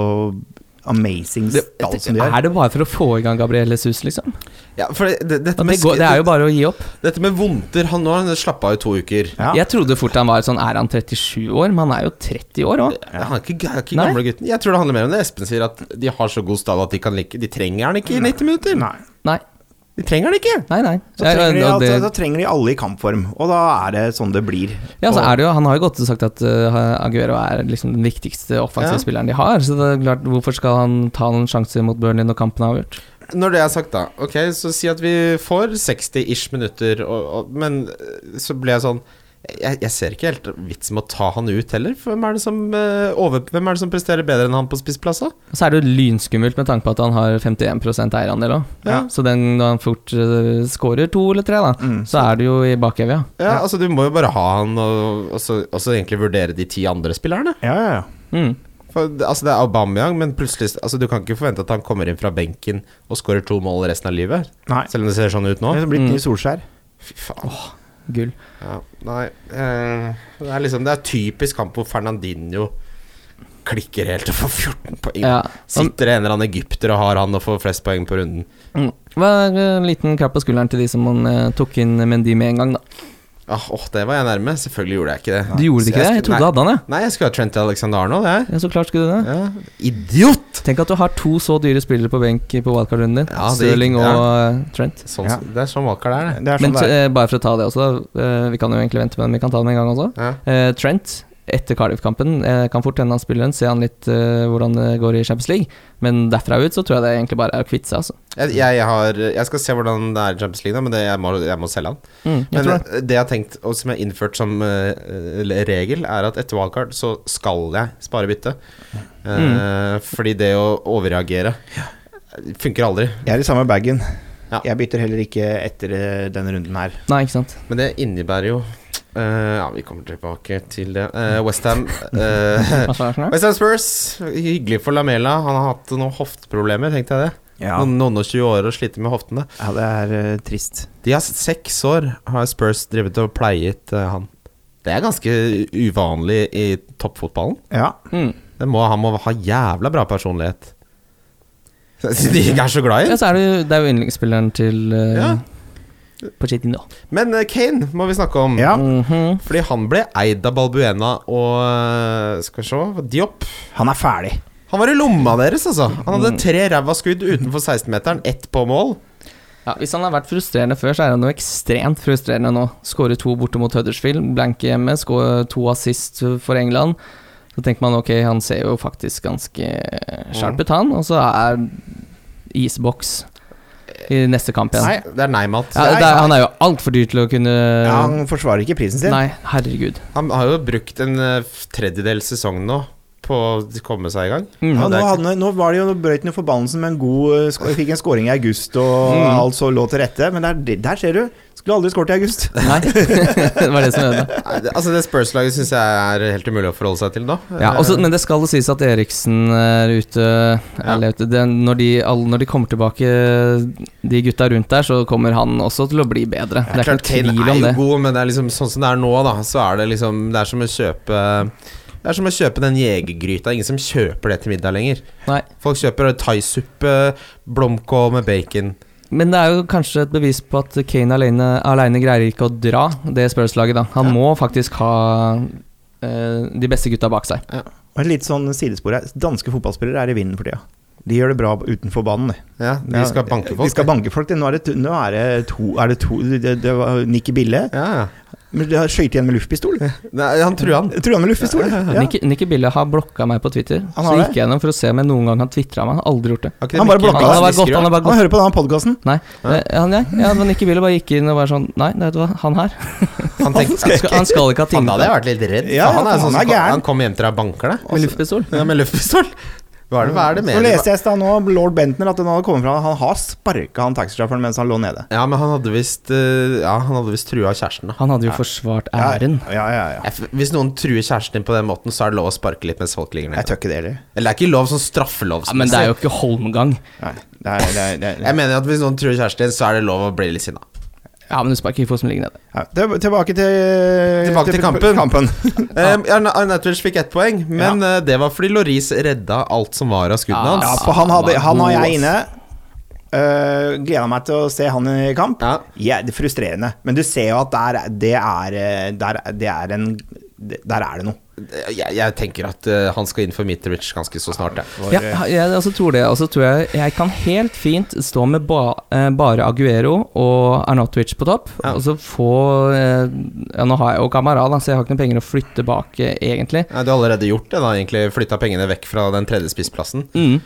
[SPEAKER 5] amazing
[SPEAKER 4] Det,
[SPEAKER 5] stall som de har.
[SPEAKER 4] er det bare for å få i gang Gabriel Jesus, liksom?
[SPEAKER 3] Ja, for det, det, dette,
[SPEAKER 4] At
[SPEAKER 3] med,
[SPEAKER 4] det, går, det er jo bare å gi opp.
[SPEAKER 3] dette med vondter Han nå har slappa av i to uker.
[SPEAKER 5] Ja.
[SPEAKER 4] Jeg trodde fort han var sånn Er han 37 år? Men han er jo 30 år òg.
[SPEAKER 3] Han er ikke, han er ikke
[SPEAKER 4] Nei.
[SPEAKER 3] gamle gutten. Jeg tror det handler mer om det. Espen sier at de har så god stall at de, kan like, de trenger han ikke i 90 minutter.
[SPEAKER 5] Nei.
[SPEAKER 4] Nei,
[SPEAKER 3] De trenger han ikke!
[SPEAKER 4] nei. nei.
[SPEAKER 5] Så trenger, de,
[SPEAKER 4] Ja, og
[SPEAKER 5] altså,
[SPEAKER 4] det-
[SPEAKER 5] da trenger de alle i kampform, og da er det sånn det blir.
[SPEAKER 4] Ja, så
[SPEAKER 5] Og-
[SPEAKER 4] er det jo, Han har jo gått og sagt at eh, Aguero er liksom den viktigste offensive
[SPEAKER 3] Ja.
[SPEAKER 4] spilleren de har. Så det er klart, hvorfor skal han ta noen sjanser mot Burnley når kampen er avgjort?
[SPEAKER 3] Når det er sagt, da. Ok, Så si at vi får 60-ish minutter, og, og, men eh, så ble jeg sånn jeg, jeg ser ikke helt vits med å ta han ut heller. For hvem er det som, eh, over, hvem er det som presterer bedre enn han på spissplasser?
[SPEAKER 4] Og så er det jo lynskummelt med tanke på at han har 51 eierandel òg.
[SPEAKER 5] Ja.
[SPEAKER 4] Så den, når han fort uh, scorer to eller tre, da, så er det jo i bakevja.
[SPEAKER 3] Ja, altså Du må jo bare ha han, og, og, så, og så egentlig vurdere de ti andre spillerne.
[SPEAKER 5] Ja, ja, ja.
[SPEAKER 4] Mm.
[SPEAKER 3] For, det- altså Det er Aubameyang, men plutselig altså du kan ikke forvente at han kommer inn fra benken og skårer to mål resten av livet.
[SPEAKER 5] Nei.
[SPEAKER 3] Selv om det ser sånn ut nå.
[SPEAKER 5] Det er blitt
[SPEAKER 4] Mm.
[SPEAKER 5] ny Solskjær.
[SPEAKER 3] Fy faen.
[SPEAKER 4] Gull.
[SPEAKER 3] Ja, nei eh, Det er liksom Det er typisk kamp hvor Fernandinho klikker helt og får 14 poeng.
[SPEAKER 4] Ja.
[SPEAKER 3] Sitter det en eller annen egypter og har han og får flest poeng på runden.
[SPEAKER 4] Mm. Det var en liten klapp på skulderen til de som man eh, tok inn Mendy med en gang, da.
[SPEAKER 3] Ah, Åh, det var jeg nærme. Selvfølgelig gjorde jeg ikke det.
[SPEAKER 4] Du gjorde ikke det? Jeg trodde du
[SPEAKER 3] nei,
[SPEAKER 4] hadde han, jeg.
[SPEAKER 3] nei, jeg skulle ha Trent Alexander Arnold, jeg.
[SPEAKER 4] Ja, så klart skulle du det.
[SPEAKER 3] Ja. Idiot!
[SPEAKER 4] Tenk at du har to så dyre spillere på benk på wildcard-runden din.
[SPEAKER 3] Ja, det gikk-
[SPEAKER 4] Stirling og eh, Trent.
[SPEAKER 3] Sånn,
[SPEAKER 5] Ja.
[SPEAKER 3] Det er sånn Walker det er, det.
[SPEAKER 5] Det er
[SPEAKER 4] Men
[SPEAKER 5] sånn det er.
[SPEAKER 4] eh, bare for å ta det også, da. eh, vi kan jo egentlig vente med den, vi kan ta den en gang også.
[SPEAKER 3] Ja.
[SPEAKER 4] Eh, Trent, etter Cardiff-kampen, eh, kan fort hende han spiller den, se han litt eh, hvordan det går i Champions League. Men derfra ut så tror jeg det egentlig bare er å kvitte seg, altså.
[SPEAKER 3] Jeg, jeg, har, jeg skal se hvordan det er i Champions League, da, men det, jeg, må, jeg må selge han.
[SPEAKER 4] Mm, jeg
[SPEAKER 3] Men eh,
[SPEAKER 4] tror det.
[SPEAKER 3] det. jeg har tenkt, og som jeg har innført som eh, eh, regel, er at etter wildcard så
[SPEAKER 4] Mm.
[SPEAKER 3] skal jeg spare bytte. Eh, Fordi det å overreagere Funker aldri.
[SPEAKER 5] Jeg er i samme bagen.
[SPEAKER 3] Ja.
[SPEAKER 5] Jeg bytter heller ikke etter eh, denne runden her.
[SPEAKER 4] Nei, ikke sant.
[SPEAKER 3] Men det innebærer jo eh, Ja, vi kommer tilbake til det. Eh, West Westham uh, Westham Spurs. Hyggelig for Lamela. Han har hatt noen hofteproblemer, tenkte jeg det.
[SPEAKER 5] Ja,
[SPEAKER 3] Noen, noen og 20 år og sliter med hoftene.
[SPEAKER 5] det er eh, trist.
[SPEAKER 3] De har seks år har Spurs drevet og pleiet eh, han. Det er ganske uvanlig i toppfotballen.
[SPEAKER 5] Ja.
[SPEAKER 4] Mm.
[SPEAKER 3] Det må, han må ha jævla bra personlighet. Som de ikke er så glad
[SPEAKER 4] Ja,
[SPEAKER 3] i.
[SPEAKER 4] så er det, jo- det er jo yndlingsspilleren til uh,
[SPEAKER 3] Ja.
[SPEAKER 4] Pochettino.
[SPEAKER 3] Men eh, Kane må vi snakke om.
[SPEAKER 5] ja.
[SPEAKER 4] Mhm.
[SPEAKER 3] Fordi han ble eid av Balbuena og eh, Skal vi se Diop.
[SPEAKER 5] Han er ferdig.
[SPEAKER 3] Han var i lomma deres, altså. Han hadde tre ræva skudd utenfor 16-meteren, ett på mål.
[SPEAKER 4] ja, hvis han har vært frustrerende før, så er han jo ekstremt frustrerende nå. Skårer to borte mot Huddersfield, blanke hjemme, skårer to assist for England. Så tenker man ok, han ser jo faktisk ganske sharp
[SPEAKER 5] Mm.
[SPEAKER 4] ut, han. Og så er isboks i neste kamp igjen.
[SPEAKER 3] Nei, det er nei-mat.
[SPEAKER 4] Ja, det er, han er jo altfor dyr til å kunne
[SPEAKER 5] Ja, han forsvarer ikke prisen sin.
[SPEAKER 4] Eh, Nei, herregud.
[SPEAKER 3] Han har jo brukt en eh, tredjedel sesong nå på å komme seg i gang.
[SPEAKER 4] Mm.
[SPEAKER 3] det er
[SPEAKER 5] Ja, nå,
[SPEAKER 3] ikke-
[SPEAKER 5] hadde, han- nå var det jo nå brøt han jo forbannelsen med en god eh, sk- Fikk en scoring i august, og
[SPEAKER 4] Mm.
[SPEAKER 5] alt så lå til rette. Men der, der ser du. Skulle aldri skåret i august.
[SPEAKER 4] Nei, det var det som ødela.
[SPEAKER 3] Nei, det- Altså, det Spurs-laget syns jeg er helt umulig å forholde seg til nå.
[SPEAKER 4] Ja, også, men det skal jo sies at Eriksen eh, er ute, eller ute det, når, de, alle, når de kommer tilbake, de gutta rundt der, så kommer han også til å bli bedre. Det er ikke
[SPEAKER 3] klart
[SPEAKER 4] noe
[SPEAKER 3] Kane
[SPEAKER 4] tvil
[SPEAKER 3] er
[SPEAKER 4] om
[SPEAKER 3] jo
[SPEAKER 4] det.
[SPEAKER 3] god, men det er liksom sånn som det er nå, da, så er det liksom Det er som å kjøpe det er som å kjøpe den jegergryta. Ingen som kjøper det til middag lenger.
[SPEAKER 4] Nei.
[SPEAKER 3] Folk kjøper thaisuppe, blomkål med bacon.
[SPEAKER 4] Men det er jo kanskje et bevis på at Kane alene, alene greier ikke å dra det Spurs-laget, da. Han må faktisk ha eh, de beste gutta bak seg.
[SPEAKER 5] Og et litt sånn sidespor her. Danske fotballspillere er i vinden for tida. De gjør det bra utenfor banen. de.
[SPEAKER 3] Ja, De skal banke folk.
[SPEAKER 5] De skal banke folk. Nå er det, to- nå er det to, er det to det, det var Nikki Bille.
[SPEAKER 3] Ja, ja.
[SPEAKER 5] Men de har skøyt igjen med luftpistol.
[SPEAKER 3] Nei, han truer han.
[SPEAKER 5] Jeg tror han med luftpistol. Ja.
[SPEAKER 4] Nikki Nicky Bille har blokka meg på Twitter. Så
[SPEAKER 5] Han har det?
[SPEAKER 4] gikk jeg gjennom for å se om jeg noen gang har tvitra meg. Han har Aldri gjort det.
[SPEAKER 3] Har ikke det
[SPEAKER 5] Han bare
[SPEAKER 3] Mikkel
[SPEAKER 5] blokka
[SPEAKER 4] Han
[SPEAKER 5] det.
[SPEAKER 3] Hansen
[SPEAKER 4] har bare gått,
[SPEAKER 3] Fiskerud,
[SPEAKER 4] han har bare
[SPEAKER 5] Han hører på denne podkasten.
[SPEAKER 4] Nei.
[SPEAKER 3] Hæ?
[SPEAKER 4] Eh, Han, ja, ja, men Nikki Bille bare gikk inn og var sånn Nei, det var han her.
[SPEAKER 3] Han tenkte
[SPEAKER 4] Han skal, han skal ikke ha
[SPEAKER 3] Faen, da hadde
[SPEAKER 4] tingene
[SPEAKER 3] jeg vært litt redd.
[SPEAKER 5] Ja,
[SPEAKER 3] Faen, han, er
[SPEAKER 5] for
[SPEAKER 3] sånn,
[SPEAKER 5] han er
[SPEAKER 3] som kom-
[SPEAKER 5] gæren.
[SPEAKER 3] han kom hjem til deg og banker deg.
[SPEAKER 4] med luftpistol.
[SPEAKER 3] Ja, med luftpistol. Hva er det, hva er det
[SPEAKER 5] Nå
[SPEAKER 3] med
[SPEAKER 5] leste jeg i stad nå lord Bentner at den hadde kommet fra Han har sparka han taxisjåføren mens han lå nede.
[SPEAKER 3] Ja, men han hadde visst eh, Ja, han hadde visst trua kjæresten, da.
[SPEAKER 4] Han hadde jo forsvart
[SPEAKER 5] Ja,
[SPEAKER 4] æren.
[SPEAKER 5] Ja, ja, ja.
[SPEAKER 3] Jeg f- Hvis noen truer kjæresten din på den måten, så er det lov å sparke litt mens folk ligger
[SPEAKER 5] Jeg
[SPEAKER 3] nede.
[SPEAKER 5] tør ikke det heller.
[SPEAKER 3] Eller det er ikke lov sånn straffelovsmessig.
[SPEAKER 4] Ja, men det er jo ikke holmgang.
[SPEAKER 5] Nei. Det er, det er, det er.
[SPEAKER 3] Jeg mener at hvis noen truer kjæresten din, så er det lov å bli litt sinna.
[SPEAKER 4] Ja, men du sparker ikke folk som ligger nede.
[SPEAKER 5] Ja, til- Tilbake til
[SPEAKER 3] Tilbake til kampen.
[SPEAKER 5] kampen.
[SPEAKER 3] Um, Arnautovic fikk ett poeng, men eh, det var fordi Loris redda alt som var av skuddene
[SPEAKER 4] Ja.
[SPEAKER 5] Ja,
[SPEAKER 3] hans.
[SPEAKER 5] for han, hadde, han har jeg
[SPEAKER 4] Ass.
[SPEAKER 5] inne. Uh, Gleda meg til å se han i kamp.
[SPEAKER 3] Ja.
[SPEAKER 5] Ja, det er frustrerende. Men du ser jo at der, det er eh, der, det er en Der er det noe.
[SPEAKER 3] Jeg, jeg tenker at eh, han skal inn for Mitrovic ganske så snart, jeg.
[SPEAKER 4] Ja, jeg også tror det. Og så tror jeg jeg kan helt fint stå med ba, eh, bare Aguero og Arnautovic på topp,
[SPEAKER 3] Ja.
[SPEAKER 4] og så få eh, Ja, nå har jeg jo Kamara, da, så jeg har ikke noen penger å flytte bak, eh, egentlig.
[SPEAKER 3] Nei, du har allerede gjort det, da, egentlig. Flytta pengene vekk fra den tredje spissplassen.
[SPEAKER 4] Mm.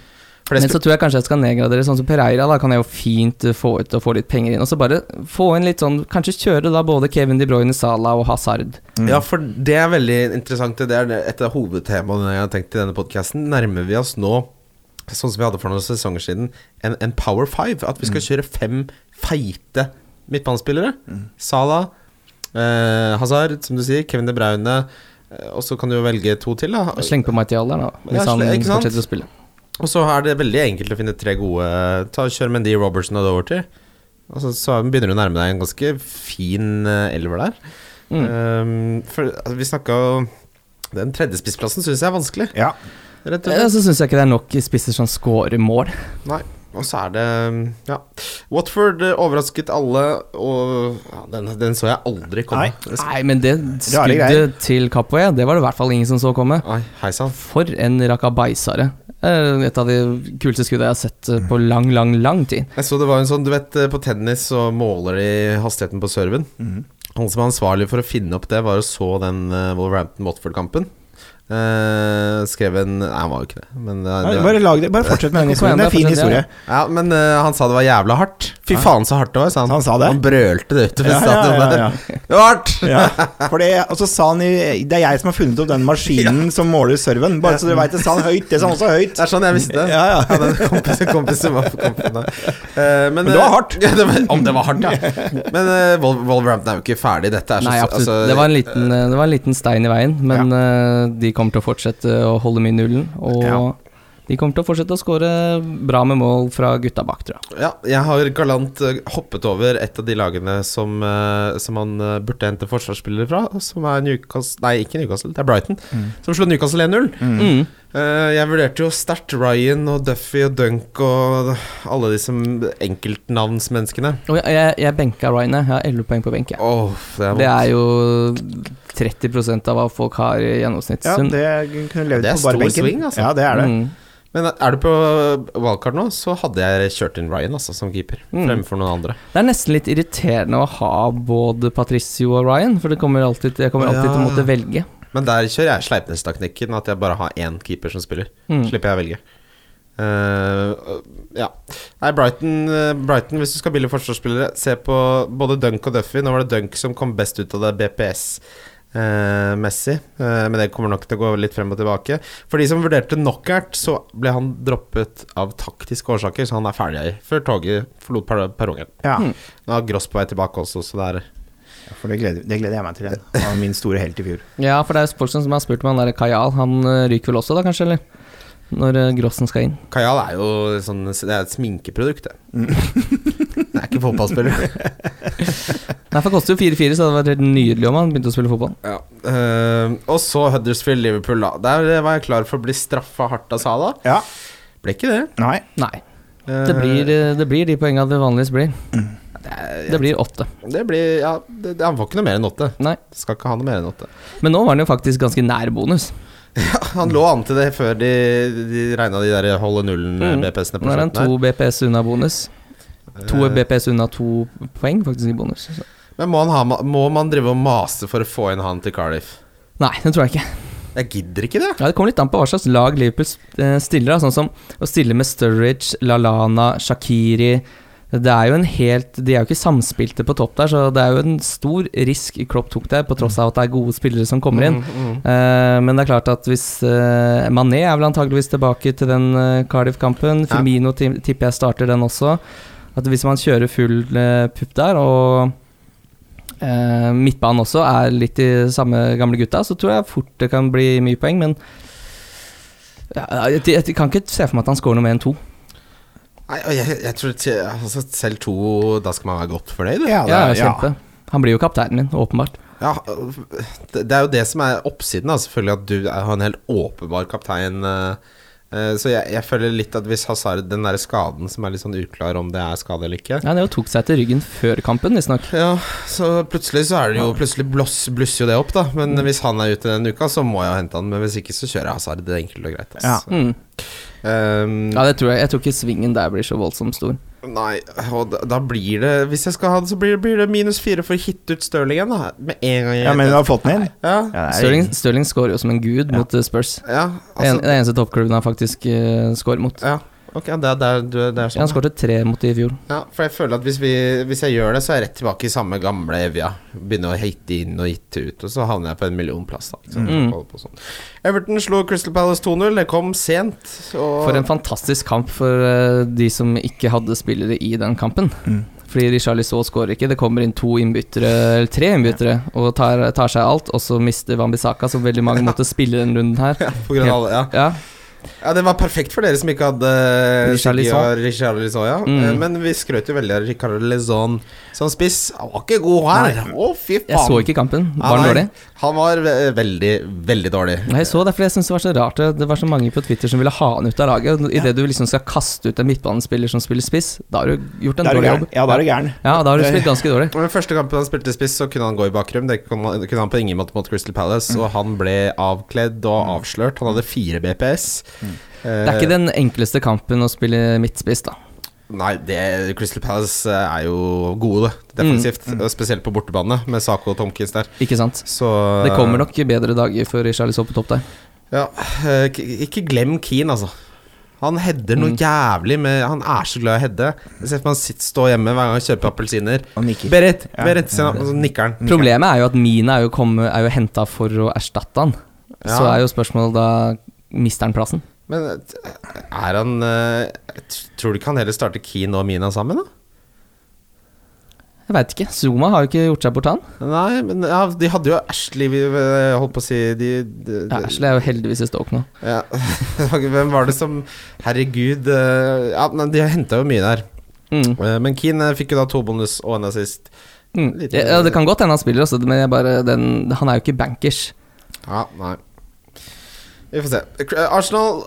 [SPEAKER 3] For det
[SPEAKER 4] Men så tror jeg kanskje jeg skal nedgradere, sånn som Pereira. Da kan jeg jo fint eh, få ut og få litt penger inn. Og så bare få inn litt sånn Kanskje kjøre da både Kevin De Bruyne, Salah og Hazard.
[SPEAKER 3] Ja, for det er veldig interessant. Det er et av hovedtemaene jeg har tenkt i denne podkasten. Nærmer vi oss nå, sånn som vi hadde for noen sesonger siden, en, en power five? At vi skal kjøre fem feite midtbanespillere? Salah, eh, Hazard, som du sier, Kevin De Bruyne. eh, Og så kan du jo velge to til, da.
[SPEAKER 4] Sleng på Martial der, da, hvis
[SPEAKER 3] Ja,
[SPEAKER 4] han
[SPEAKER 3] sle- ikke sant?
[SPEAKER 4] fortsetter å spille.
[SPEAKER 3] Og så er det veldig enkelt å finne tre gode Ta Kjør Mendy, Robertson og Doverty. Og så, så begynner du å nærme deg en ganske fin eh, elver der. Eh, for altså, vi snakka jo Den tredje spissplassen syns jeg er vanskelig.
[SPEAKER 5] Ja.
[SPEAKER 3] Rett og
[SPEAKER 4] Ja,
[SPEAKER 3] slett.
[SPEAKER 4] Så syns jeg ikke det er nok spisser som scorer mål.
[SPEAKER 3] Nei. Og så er det Ja. Watford eh, overrasket alle, og ja, den, den så jeg aldri komme.
[SPEAKER 5] Nei.
[SPEAKER 3] Det-
[SPEAKER 4] Nei, men det
[SPEAKER 5] greier.
[SPEAKER 4] skuddet til Kapoe, det var det i hvert fall ingen som så komme.
[SPEAKER 3] Oi, hei sann.
[SPEAKER 4] For en rakabaisare. Eh, Et av de kuleste skuddene jeg har sett eh, på lang, lang, lang tid.
[SPEAKER 3] Jeg så det var en sånn, du vet eh, på tennis så måler de hastigheten på serven. Han som var ansvarlig for å finne opp det, var og så den eh, Wolverhampton-Watford-kampen. Eh, skrev en Nei, han var jo ikke det, men eh, det
[SPEAKER 5] Bare, lag det, bare fortsett med den
[SPEAKER 4] Kom igjen,
[SPEAKER 5] historien. Det er en fin
[SPEAKER 4] fortsett, ja.
[SPEAKER 5] historie.
[SPEAKER 3] Ja, men eh, han sa det var jævla hardt. Fy faen så hardt det var, sa han.
[SPEAKER 5] Han sa det?
[SPEAKER 3] Han brølte det ut.
[SPEAKER 5] Ja,
[SPEAKER 3] Ja,
[SPEAKER 5] ja, ja, ja.
[SPEAKER 3] Det var hardt!
[SPEAKER 5] Ja, for det, og så sa han i, Det er jeg som har funnet opp den maskinen som måler serven. Bare så dere vet, det sa han høyt. Det sa han også høyt.
[SPEAKER 3] Det er sånn jeg visste det.
[SPEAKER 5] Ja, ja.
[SPEAKER 3] Jeg hadde en kompis, en kompis som var på kampen da. Eh, men,
[SPEAKER 5] det var
[SPEAKER 3] eh,
[SPEAKER 5] hardt.
[SPEAKER 3] Ja, det var, om det var hardt, ja. Men eh, Wol- Wolverhampton er jo ikke ferdig. Dette er så
[SPEAKER 4] Nei, absolutt.
[SPEAKER 3] altså-
[SPEAKER 4] det, var en liten, eh, det var en liten stein i veien, men eh, de kommer til å fortsette å holde mye nullen. Og
[SPEAKER 5] Ja.
[SPEAKER 4] de kommer til å fortsette å skåre bra med mål fra gutta bak, tror jeg.
[SPEAKER 3] Ja, jeg har galant eh, hoppet over et av de lagene som, eh, som han eh, burde hente forsvarsspillere fra, som er Newcastle Nei, ikke Newcastle, det er Brighton, som slo Newcastle 1-0.
[SPEAKER 4] Mm.
[SPEAKER 3] Eh, jeg vurderte jo sterkt Ryan og Duffy og Dunk og alle disse enkeltnavnsmenneskene.
[SPEAKER 4] Og jeg, jeg, jeg benka Ryan, jeg. Jeg har 11 poeng på benk. jeg.
[SPEAKER 3] Åh, det er vondt.
[SPEAKER 4] Det er jo 30 av hva folk har i
[SPEAKER 5] Ja,
[SPEAKER 4] gjennomsnittssum.
[SPEAKER 5] det kunne levd
[SPEAKER 3] Det er
[SPEAKER 5] på bare
[SPEAKER 3] stor
[SPEAKER 5] benken.
[SPEAKER 3] swing, altså.
[SPEAKER 5] Ja, det er det.
[SPEAKER 4] Mm.
[SPEAKER 3] Men er du på wildcard nå, så hadde jeg kjørt inn Ryan altså, som keeper,
[SPEAKER 4] Mm.
[SPEAKER 3] fremfor noen andre.
[SPEAKER 4] Det er nesten litt irriterende å ha både Patricio og Ryan, for det kommer alltid, jeg kommer alltid til å
[SPEAKER 3] Ja.
[SPEAKER 4] måtte velge.
[SPEAKER 3] Men der kjører jeg Sleipnes-taknikken, at jeg bare har én keeper som spiller.
[SPEAKER 4] Mm.
[SPEAKER 3] Slipper jeg å velge. Eh, ja. Nei, Brighton, eh, Brighton, hvis du skal bilde forsvarsspillere, se på både Dunk og Duffy. Nå var det Dunk som kom best ut av det BPS-messig, eh, men det kommer nok til å gå litt frem og tilbake. For de som vurderte knockout, så ble han droppet av taktiske årsaker, så han er ferdig før toget forlot per- perrongen.
[SPEAKER 5] Ja,
[SPEAKER 3] Nå er Gross på vei tilbake også, så det er
[SPEAKER 5] for det gleder, det gleder jeg meg til igjen. Han var min store helt i fjor.
[SPEAKER 4] Ja, for det er folk som har spurt om han der Kajal. Han eh, ryker vel også, da kanskje, eller? Når eh, Grossen skal inn.
[SPEAKER 3] Kajal er jo sånn, det er et sminkeprodukt, det. det er ikke fotballspiller.
[SPEAKER 4] Nei, for det koster jo 4-4, så det hadde vært helt nydelig om han begynte å spille fotball.
[SPEAKER 3] Ja. eh, og så Huddersfield-Liverpool, da. Der eh, var jeg klar for å bli straffa hardt av Sala.
[SPEAKER 5] Ja,
[SPEAKER 3] Ble ikke det.
[SPEAKER 5] nei.
[SPEAKER 4] Nei,
[SPEAKER 3] Eh,
[SPEAKER 4] det blir, eh, det blir de poengene det vanligvis blir. Det blir åtte.
[SPEAKER 3] det blir Ja, det, det, han får ikke noe mer enn åtte.
[SPEAKER 4] Nei.
[SPEAKER 3] Skal ikke ha noe mer enn åtte.
[SPEAKER 4] Men nå var han jo faktisk ganske nær bonus.
[SPEAKER 3] Han lå an til det før de, de regna de der holde eh,
[SPEAKER 4] Mm.
[SPEAKER 3] nullen-BPS-ene
[SPEAKER 4] Nå
[SPEAKER 3] på
[SPEAKER 4] er han
[SPEAKER 3] slutten
[SPEAKER 4] to BPS unna bonus.
[SPEAKER 3] her.
[SPEAKER 4] To
[SPEAKER 3] Eh,
[SPEAKER 4] BPS unna to poeng, faktisk, i bonus. Så.
[SPEAKER 3] Men må, han ha, ma- må man drive og mase for å få inn han til Cardiff?
[SPEAKER 4] Nei, det tror jeg ikke.
[SPEAKER 3] Jeg gidder ikke det.
[SPEAKER 4] Ja, Det kommer litt an på hva slags lag Liverpool eh, stiller. Da. Sånn som å stille med Sturridge, Lalana, Shakiri Det er jo en helt De er jo ikke samspilte på topp der, så det er jo en stor risk Klopp tok der, på tross av at det er gode spillere som kommer inn.
[SPEAKER 3] Mm, mm.
[SPEAKER 4] Eh, men det er klart at hvis eh, Mané er vel antageligvis tilbake til den eh, Cardiff-kampen.
[SPEAKER 3] Ja.
[SPEAKER 4] Firmino ti- tipper jeg starter den også. At hvis man kjører full eh, pupp der, og eh, midtbanen også er litt de samme gamle gutta, så tror jeg fort det kan bli mye poeng, men ja, jeg, jeg, jeg kan ikke se for meg at han scorer noe mer enn to.
[SPEAKER 3] Nei, og jeg, jeg tror til, altså, Selv to Da skal man være godt fornøyd.
[SPEAKER 5] Ja, det,
[SPEAKER 4] Ja,
[SPEAKER 5] er- ja.
[SPEAKER 4] kjempe. Han blir jo kapteinen min, åpenbart.
[SPEAKER 3] Ja, det det er jo det som er oppsiden, da, selvfølgelig, at du er jo en helt åpenbar kaptein. eh, eh, Så jeg, jeg føler litt at hvis Hazard, den der skaden som er litt sånn uklar om det er skade eller ikke
[SPEAKER 4] Ja, det tok seg til ryggen før kampen, visstnok.
[SPEAKER 3] Ja, så plutselig så er det jo Plutselig blås, blusser jo det opp, da. Men hvis han er ute den uka, så må jeg hente han. Men hvis ikke, så kjører jeg Hazard. Det er enkelt og greit. ass.
[SPEAKER 4] Mm.
[SPEAKER 3] Ehm,
[SPEAKER 4] Ja, det tror jeg. Jeg tror ikke svingen der blir så voldsomt stor.
[SPEAKER 3] Nei, og da, da blir det Hvis jeg skal ha det, så blir, blir det minus fire for å hitte ut Stirling igjen, da. Med en gang jeg
[SPEAKER 5] ja, men du har fått den inn?
[SPEAKER 3] ja.
[SPEAKER 5] Ja, det er-
[SPEAKER 4] Stirling, Stirling scorer jo som en gud
[SPEAKER 5] Ja.
[SPEAKER 4] mot eh, Spurs.
[SPEAKER 3] ja,
[SPEAKER 4] Det er en,
[SPEAKER 3] altså
[SPEAKER 4] det er eneste toppklubben han faktisk eh, scorer mot.
[SPEAKER 3] Ja, ok, det, er- det, er- du- det er sånn.
[SPEAKER 4] Han skåret tre mot de i fjor.
[SPEAKER 3] Ja, for jeg føler at hvis, vi, hvis jeg gjør det, så er jeg rett tilbake i samme gamle Evja. Begynner å hitte inn og hitte ut, og så havner jeg på en millionplass. da, ikke sant?
[SPEAKER 4] Mm.
[SPEAKER 3] Holder på sånn. Everton slo Crystal Palace 2-0. Det kom sent. Og
[SPEAKER 4] For en fantastisk kamp for eh, de som ikke hadde spillere i den kampen.
[SPEAKER 5] Mm.
[SPEAKER 4] Fordi Richarlison skårer ikke. Det kommer inn to innbyttere, eller tre innbyttere, og tar, tar seg alt. Og så mister Wambisaka, som veldig mange måtte spille den runden her.
[SPEAKER 3] på grunn av, ja.
[SPEAKER 4] Ja,
[SPEAKER 3] ja, Det var perfekt for dere som ikke hadde
[SPEAKER 4] Richarlison.
[SPEAKER 3] Richarlison ja.
[SPEAKER 4] Mm.
[SPEAKER 3] Eh, Men vi skrøt jo veldig av Richarlison som spiss. Han var ikke god her! Å, fy faen!
[SPEAKER 4] Jeg så ikke kampen. Var den
[SPEAKER 3] Ja,
[SPEAKER 4] dårlig?
[SPEAKER 3] nei, Han var eh, veldig, veldig dårlig.
[SPEAKER 4] Nei, Jeg så det, for jeg synes det var så rart det- Det var så mange på Twitter som ville ha han ut av laget. Idet du liksom skal kaste ut en midtbanespiller som spiller spiss, da har du gjort en
[SPEAKER 5] Da er du
[SPEAKER 4] dårlig
[SPEAKER 5] gæren.
[SPEAKER 4] jobb.
[SPEAKER 5] Ja, da er du gæren.
[SPEAKER 4] Ja, da har du spilt ganske dårlig.
[SPEAKER 3] Men første kampen han spilte spiss, så kunne han gå i bakrom. Det kunne han- kunne han på ingen måte mot Crystal Palace. Og han ble avkledd og avslørt. Han hadde fire BPS.
[SPEAKER 4] Det er ikke den enkleste kampen å spille midtspiss, da.
[SPEAKER 3] Eh, Nei, det, Crystal Palace eh, er jo gode det, defensivt.
[SPEAKER 4] Mm.
[SPEAKER 3] og Spesielt på bortebane, med Sako og Tomkins der.
[SPEAKER 4] Ikke sant?
[SPEAKER 3] Så
[SPEAKER 4] Det kommer nok bedre dager for Richarlison på topp der.
[SPEAKER 3] eh, Ja, eh, k- ikke glem Keane, altså. Han header
[SPEAKER 4] Mm.
[SPEAKER 3] noe jævlig med Han er så glad i å heade. Jeg ser for meg han sitter stå hjemme hver gang han kjøper appelsiner.
[SPEAKER 5] Og nikker.
[SPEAKER 3] Berit!
[SPEAKER 5] Ja.
[SPEAKER 3] Berit! sier han, Og så nikker han.
[SPEAKER 4] Problemet er jo at Mina er jo, kommet- er jo henta for å erstatte han. Så
[SPEAKER 3] Ja.
[SPEAKER 4] er jo spørsmålet da Mister han plassen?
[SPEAKER 3] Men eh, er han eh, t- Tror du ikke han heller starter Keane og Mina sammen, da?
[SPEAKER 4] Jeg veit ikke. Zuma har jo ikke gjort seg bort, han.
[SPEAKER 3] Nei, men ja, de hadde jo Ashley vi, eh, Holdt på å si de, de,
[SPEAKER 4] Ja, Ashley er jo heldigvis i Stoke nå.
[SPEAKER 3] Ja. Hvem var det som Herregud eh, Ja, men de henta jo mye der.
[SPEAKER 4] Mm.
[SPEAKER 3] Eh, Men Keane eh, fikk jo da to bonus og en assist.
[SPEAKER 4] Mm.
[SPEAKER 3] Litt-
[SPEAKER 4] Ja, det kan godt hende han spiller også, men jeg bare, den, han er jo ikke bankers.
[SPEAKER 3] Ja, nei Vi får se. Eh, Arsenal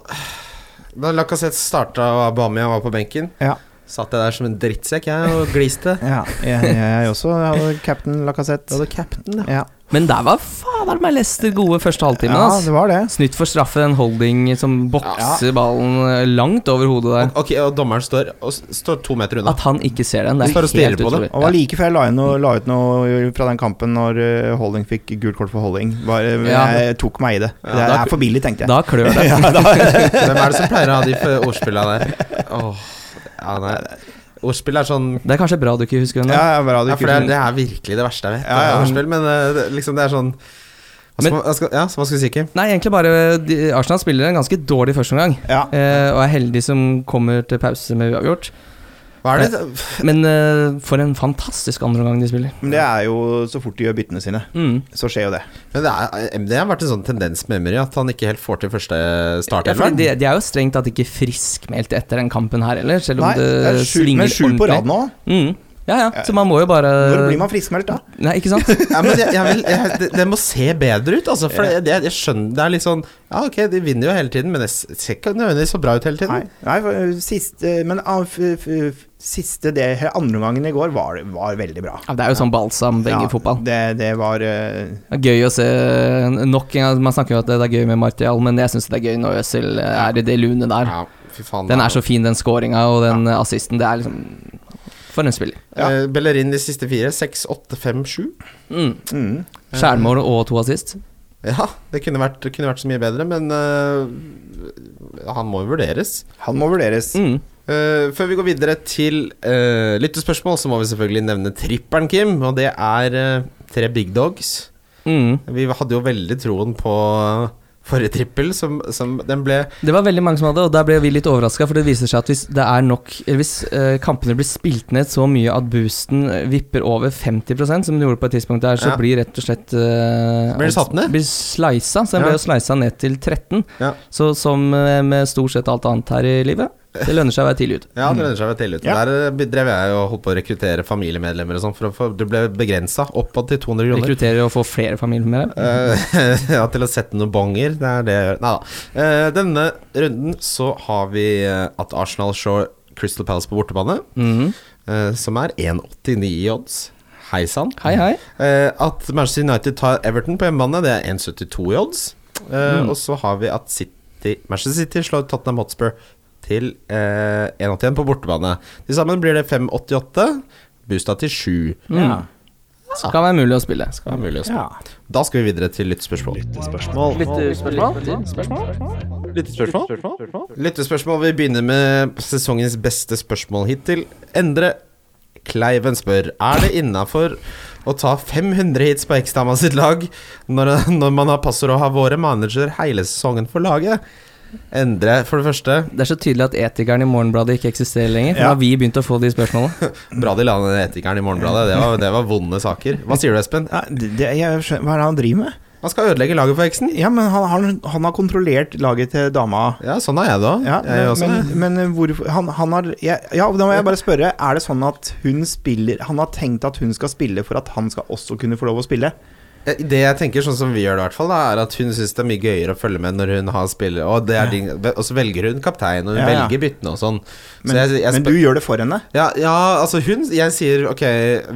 [SPEAKER 3] Da Lacassette starta og Aubameyang var på benken,
[SPEAKER 5] Ja.
[SPEAKER 3] satt jeg der som en drittsekk jeg og gliste.
[SPEAKER 5] Ja, jeg, jeg også hadde cap'n Lacassette.
[SPEAKER 3] hadde cap'n,
[SPEAKER 5] Ja.
[SPEAKER 4] Men der var fader meg Leicester gode første halvtimen.
[SPEAKER 5] ja,
[SPEAKER 4] ass.
[SPEAKER 5] det var det.
[SPEAKER 4] Snytt for straffe, den holding som bokser ballen eh, langt over hodet der.
[SPEAKER 3] Ok, og dommeren står, og s- står to meter unna.
[SPEAKER 4] At han ikke ser den, det
[SPEAKER 3] Står og
[SPEAKER 4] er
[SPEAKER 3] stirrer
[SPEAKER 4] helt
[SPEAKER 3] på
[SPEAKER 4] utrolig.
[SPEAKER 3] det.
[SPEAKER 5] Og det var like før jeg la, inn noe, la ut noe fra den kampen når eh, Holding fikk gult kort for Holding. Bare, men
[SPEAKER 4] Ja.
[SPEAKER 5] Jeg tok meg i det.
[SPEAKER 3] Ja,
[SPEAKER 5] det
[SPEAKER 4] da-
[SPEAKER 5] er for billig,
[SPEAKER 4] Ja.
[SPEAKER 5] tenkte jeg.
[SPEAKER 4] Da klør det.
[SPEAKER 5] Ja, da-
[SPEAKER 3] Hvem er det som pleier å ha de f- ordspillene der? Åh, ja, nei. Ordspill er sånn
[SPEAKER 4] Det er kanskje bra du ikke sånn- husker den.
[SPEAKER 5] ja,
[SPEAKER 4] da.
[SPEAKER 5] ja, bra, du
[SPEAKER 3] Ja, for det er, det er virkelig det verste jeg vet.
[SPEAKER 5] Ja, ja.
[SPEAKER 3] det er Ordspill, men eh, det, liksom, det er sånn hva skal
[SPEAKER 4] Men-
[SPEAKER 3] man, hva skal, Ja, så hva skal vi si, Kim?
[SPEAKER 4] Nei, egentlig bare de, Arsenal spiller en ganske dårlig førsteomgang.
[SPEAKER 5] ja.
[SPEAKER 4] Eh, og er heldig som kommer til pause med uavgjort.
[SPEAKER 3] Hva er det?
[SPEAKER 4] Men eh, for en fantastisk andreomgang de spiller.
[SPEAKER 5] Men det er jo så fort de gjør byttene sine,
[SPEAKER 4] Mm.
[SPEAKER 5] så skjer jo det.
[SPEAKER 3] Men det, er, det har vært en sånn tendens med Emery at han ikke helt får til første start.
[SPEAKER 4] Ja, fordi de, de er jo strengt tatt ikke friskmeldt etter den kampen her heller, selv om
[SPEAKER 5] Nei,
[SPEAKER 4] det,
[SPEAKER 5] det er sju,
[SPEAKER 4] svinger
[SPEAKER 5] men sju på rad
[SPEAKER 4] ordentlig. Eh,
[SPEAKER 5] nå.
[SPEAKER 4] Mm. Ja, ja, så man må jo bare
[SPEAKER 5] Når blir man friskmeldt da?
[SPEAKER 4] Nei, ikke sant?
[SPEAKER 3] ja, men jeg, jeg vil, jeg, det, det må se bedre ut, altså. For det, jeg, jeg skjønner Det er litt sånn Ja, ok, de vinner jo hele tiden, men det ser ikke nødvendigvis så bra ut hele
[SPEAKER 5] Nei,
[SPEAKER 3] tiden.
[SPEAKER 5] nei for, eh, siste, men ah, f, f, siste det, andre omgangen i går var, var veldig bra.
[SPEAKER 4] Ja, det er jo sånn balsam begge
[SPEAKER 5] Ja,
[SPEAKER 4] i fotball.
[SPEAKER 5] Det, det var eh,
[SPEAKER 4] Det er Gøy å se nok en gang. Man snakker jo at det er gøy med Martial, men jeg syns det er gøy når Øzil er i det lune der.
[SPEAKER 3] Ja, fy faen.
[SPEAKER 4] Den er så fin, den scoringa og den eh, assisten. Det er liksom For en spiller.
[SPEAKER 3] ja. eh, Bellerin de siste fire. Seks, åtte, fem, sju.
[SPEAKER 4] Mm.
[SPEAKER 5] mm.
[SPEAKER 4] Skjærmål og to assist.
[SPEAKER 3] Ja, det kunne vært, det kunne vært så mye bedre, men eh, han må jo vurderes.
[SPEAKER 5] Han må vurderes.
[SPEAKER 4] Mm.
[SPEAKER 3] Eh, før vi går videre til eh, lyttespørsmål, så må vi selvfølgelig nevne tripperen, Kim. Og det er eh, tre big dogs.
[SPEAKER 4] Mm.
[SPEAKER 3] Vi hadde jo veldig troen på forrige trippel, som, som den ble
[SPEAKER 4] Det var veldig mange som hadde, og der ble vi litt overraska. For det viser seg at hvis det er nok Eller hvis eh, kampene blir spilt ned så mye at boosten eh, vipper over 50 som det gjorde på et tidspunkt der,
[SPEAKER 3] Ja.
[SPEAKER 4] så blir rett og slett eh,
[SPEAKER 3] Blir det satt ned?
[SPEAKER 4] Blir slisa. Så
[SPEAKER 3] Ja.
[SPEAKER 4] den ble jo slisa ned til 13.
[SPEAKER 3] Ja.
[SPEAKER 4] Så som eh, med stort sett alt annet her i livet, det lønner seg å være tidlig ute.
[SPEAKER 3] Ja, det lønner seg å være tidlig ute.
[SPEAKER 5] Ja.
[SPEAKER 3] Der eh, drev jeg og holdt på å rekruttere familiemedlemmer og sånn, for å få- det ble begrensa oppad til 200 kroner.
[SPEAKER 4] Rekrutterer og får flere familier med det.
[SPEAKER 3] Eh, ja, til å sette noen bonger. Det er det jeg gjør. Nei da. Eh, denne runden så har vi eh, at Arsenal slår Crystal Palace på bortebane,
[SPEAKER 4] Mhm.
[SPEAKER 3] eh, som er 1,89 i odds. Hei sann.
[SPEAKER 4] Hei, hei.
[SPEAKER 3] Eh, at Manchester United tar Everton på hjemmebane, det er 1,72 i odds. Eh,
[SPEAKER 4] Mm.
[SPEAKER 3] Og så har vi at City, Manchester City slår Tottenham Hotspur til eh, 1,81 på bortebane. Til sammen blir det 5,88, boosta til 7.
[SPEAKER 4] Mm. Skal være mulig å spille.
[SPEAKER 3] Det er mulig å spille. Da skal vi videre til lyttespørsmål. Lyttespørsmål. Vi begynner med sesongens beste spørsmål hittil. Endre Kleiven spør Er det innafor å ta 500 hits på Ekstama sitt lag når, når man har passord og har våre manager hele sesongen for laget? Endre, for det første
[SPEAKER 4] Det er så tydelig at etikeren i Morgenbladet ikke eksisterer lenger. For
[SPEAKER 5] Ja.
[SPEAKER 4] da har vi begynt å få de spørsmålene.
[SPEAKER 3] Bra de la ned etikeren i Morgenbladet. Det var, det var vonde saker. Hva sier du, Espen?
[SPEAKER 5] Ja, det, det, jeg skjønner, hva er det han driver med?
[SPEAKER 3] Han skal ødelegge laget for Eksen.
[SPEAKER 5] Ja, men han, han, han har kontrollert laget til dama.
[SPEAKER 3] Ja, sånn er jeg da.
[SPEAKER 5] Ja,
[SPEAKER 3] jeg også.
[SPEAKER 5] men, men hvorfor han, han har ja, ja, da må jeg bare spørre. Er det sånn at hun spiller Han har tenkt at hun skal spille for at han skal også kunne få lov å spille?
[SPEAKER 3] Det jeg tenker, sånn som vi gjør det, i hvert fall da, er at hun syns det er mye gøyere å følge med når hun har spillere, og, det er din, og så velger hun kaptein, og hun
[SPEAKER 5] Ja, ja.
[SPEAKER 3] velger byttene og sånn. Så
[SPEAKER 5] Men,
[SPEAKER 3] jeg, jeg
[SPEAKER 5] men
[SPEAKER 3] spør-
[SPEAKER 5] du gjør det for henne?
[SPEAKER 3] ja, ja, altså hun Jeg sier ok,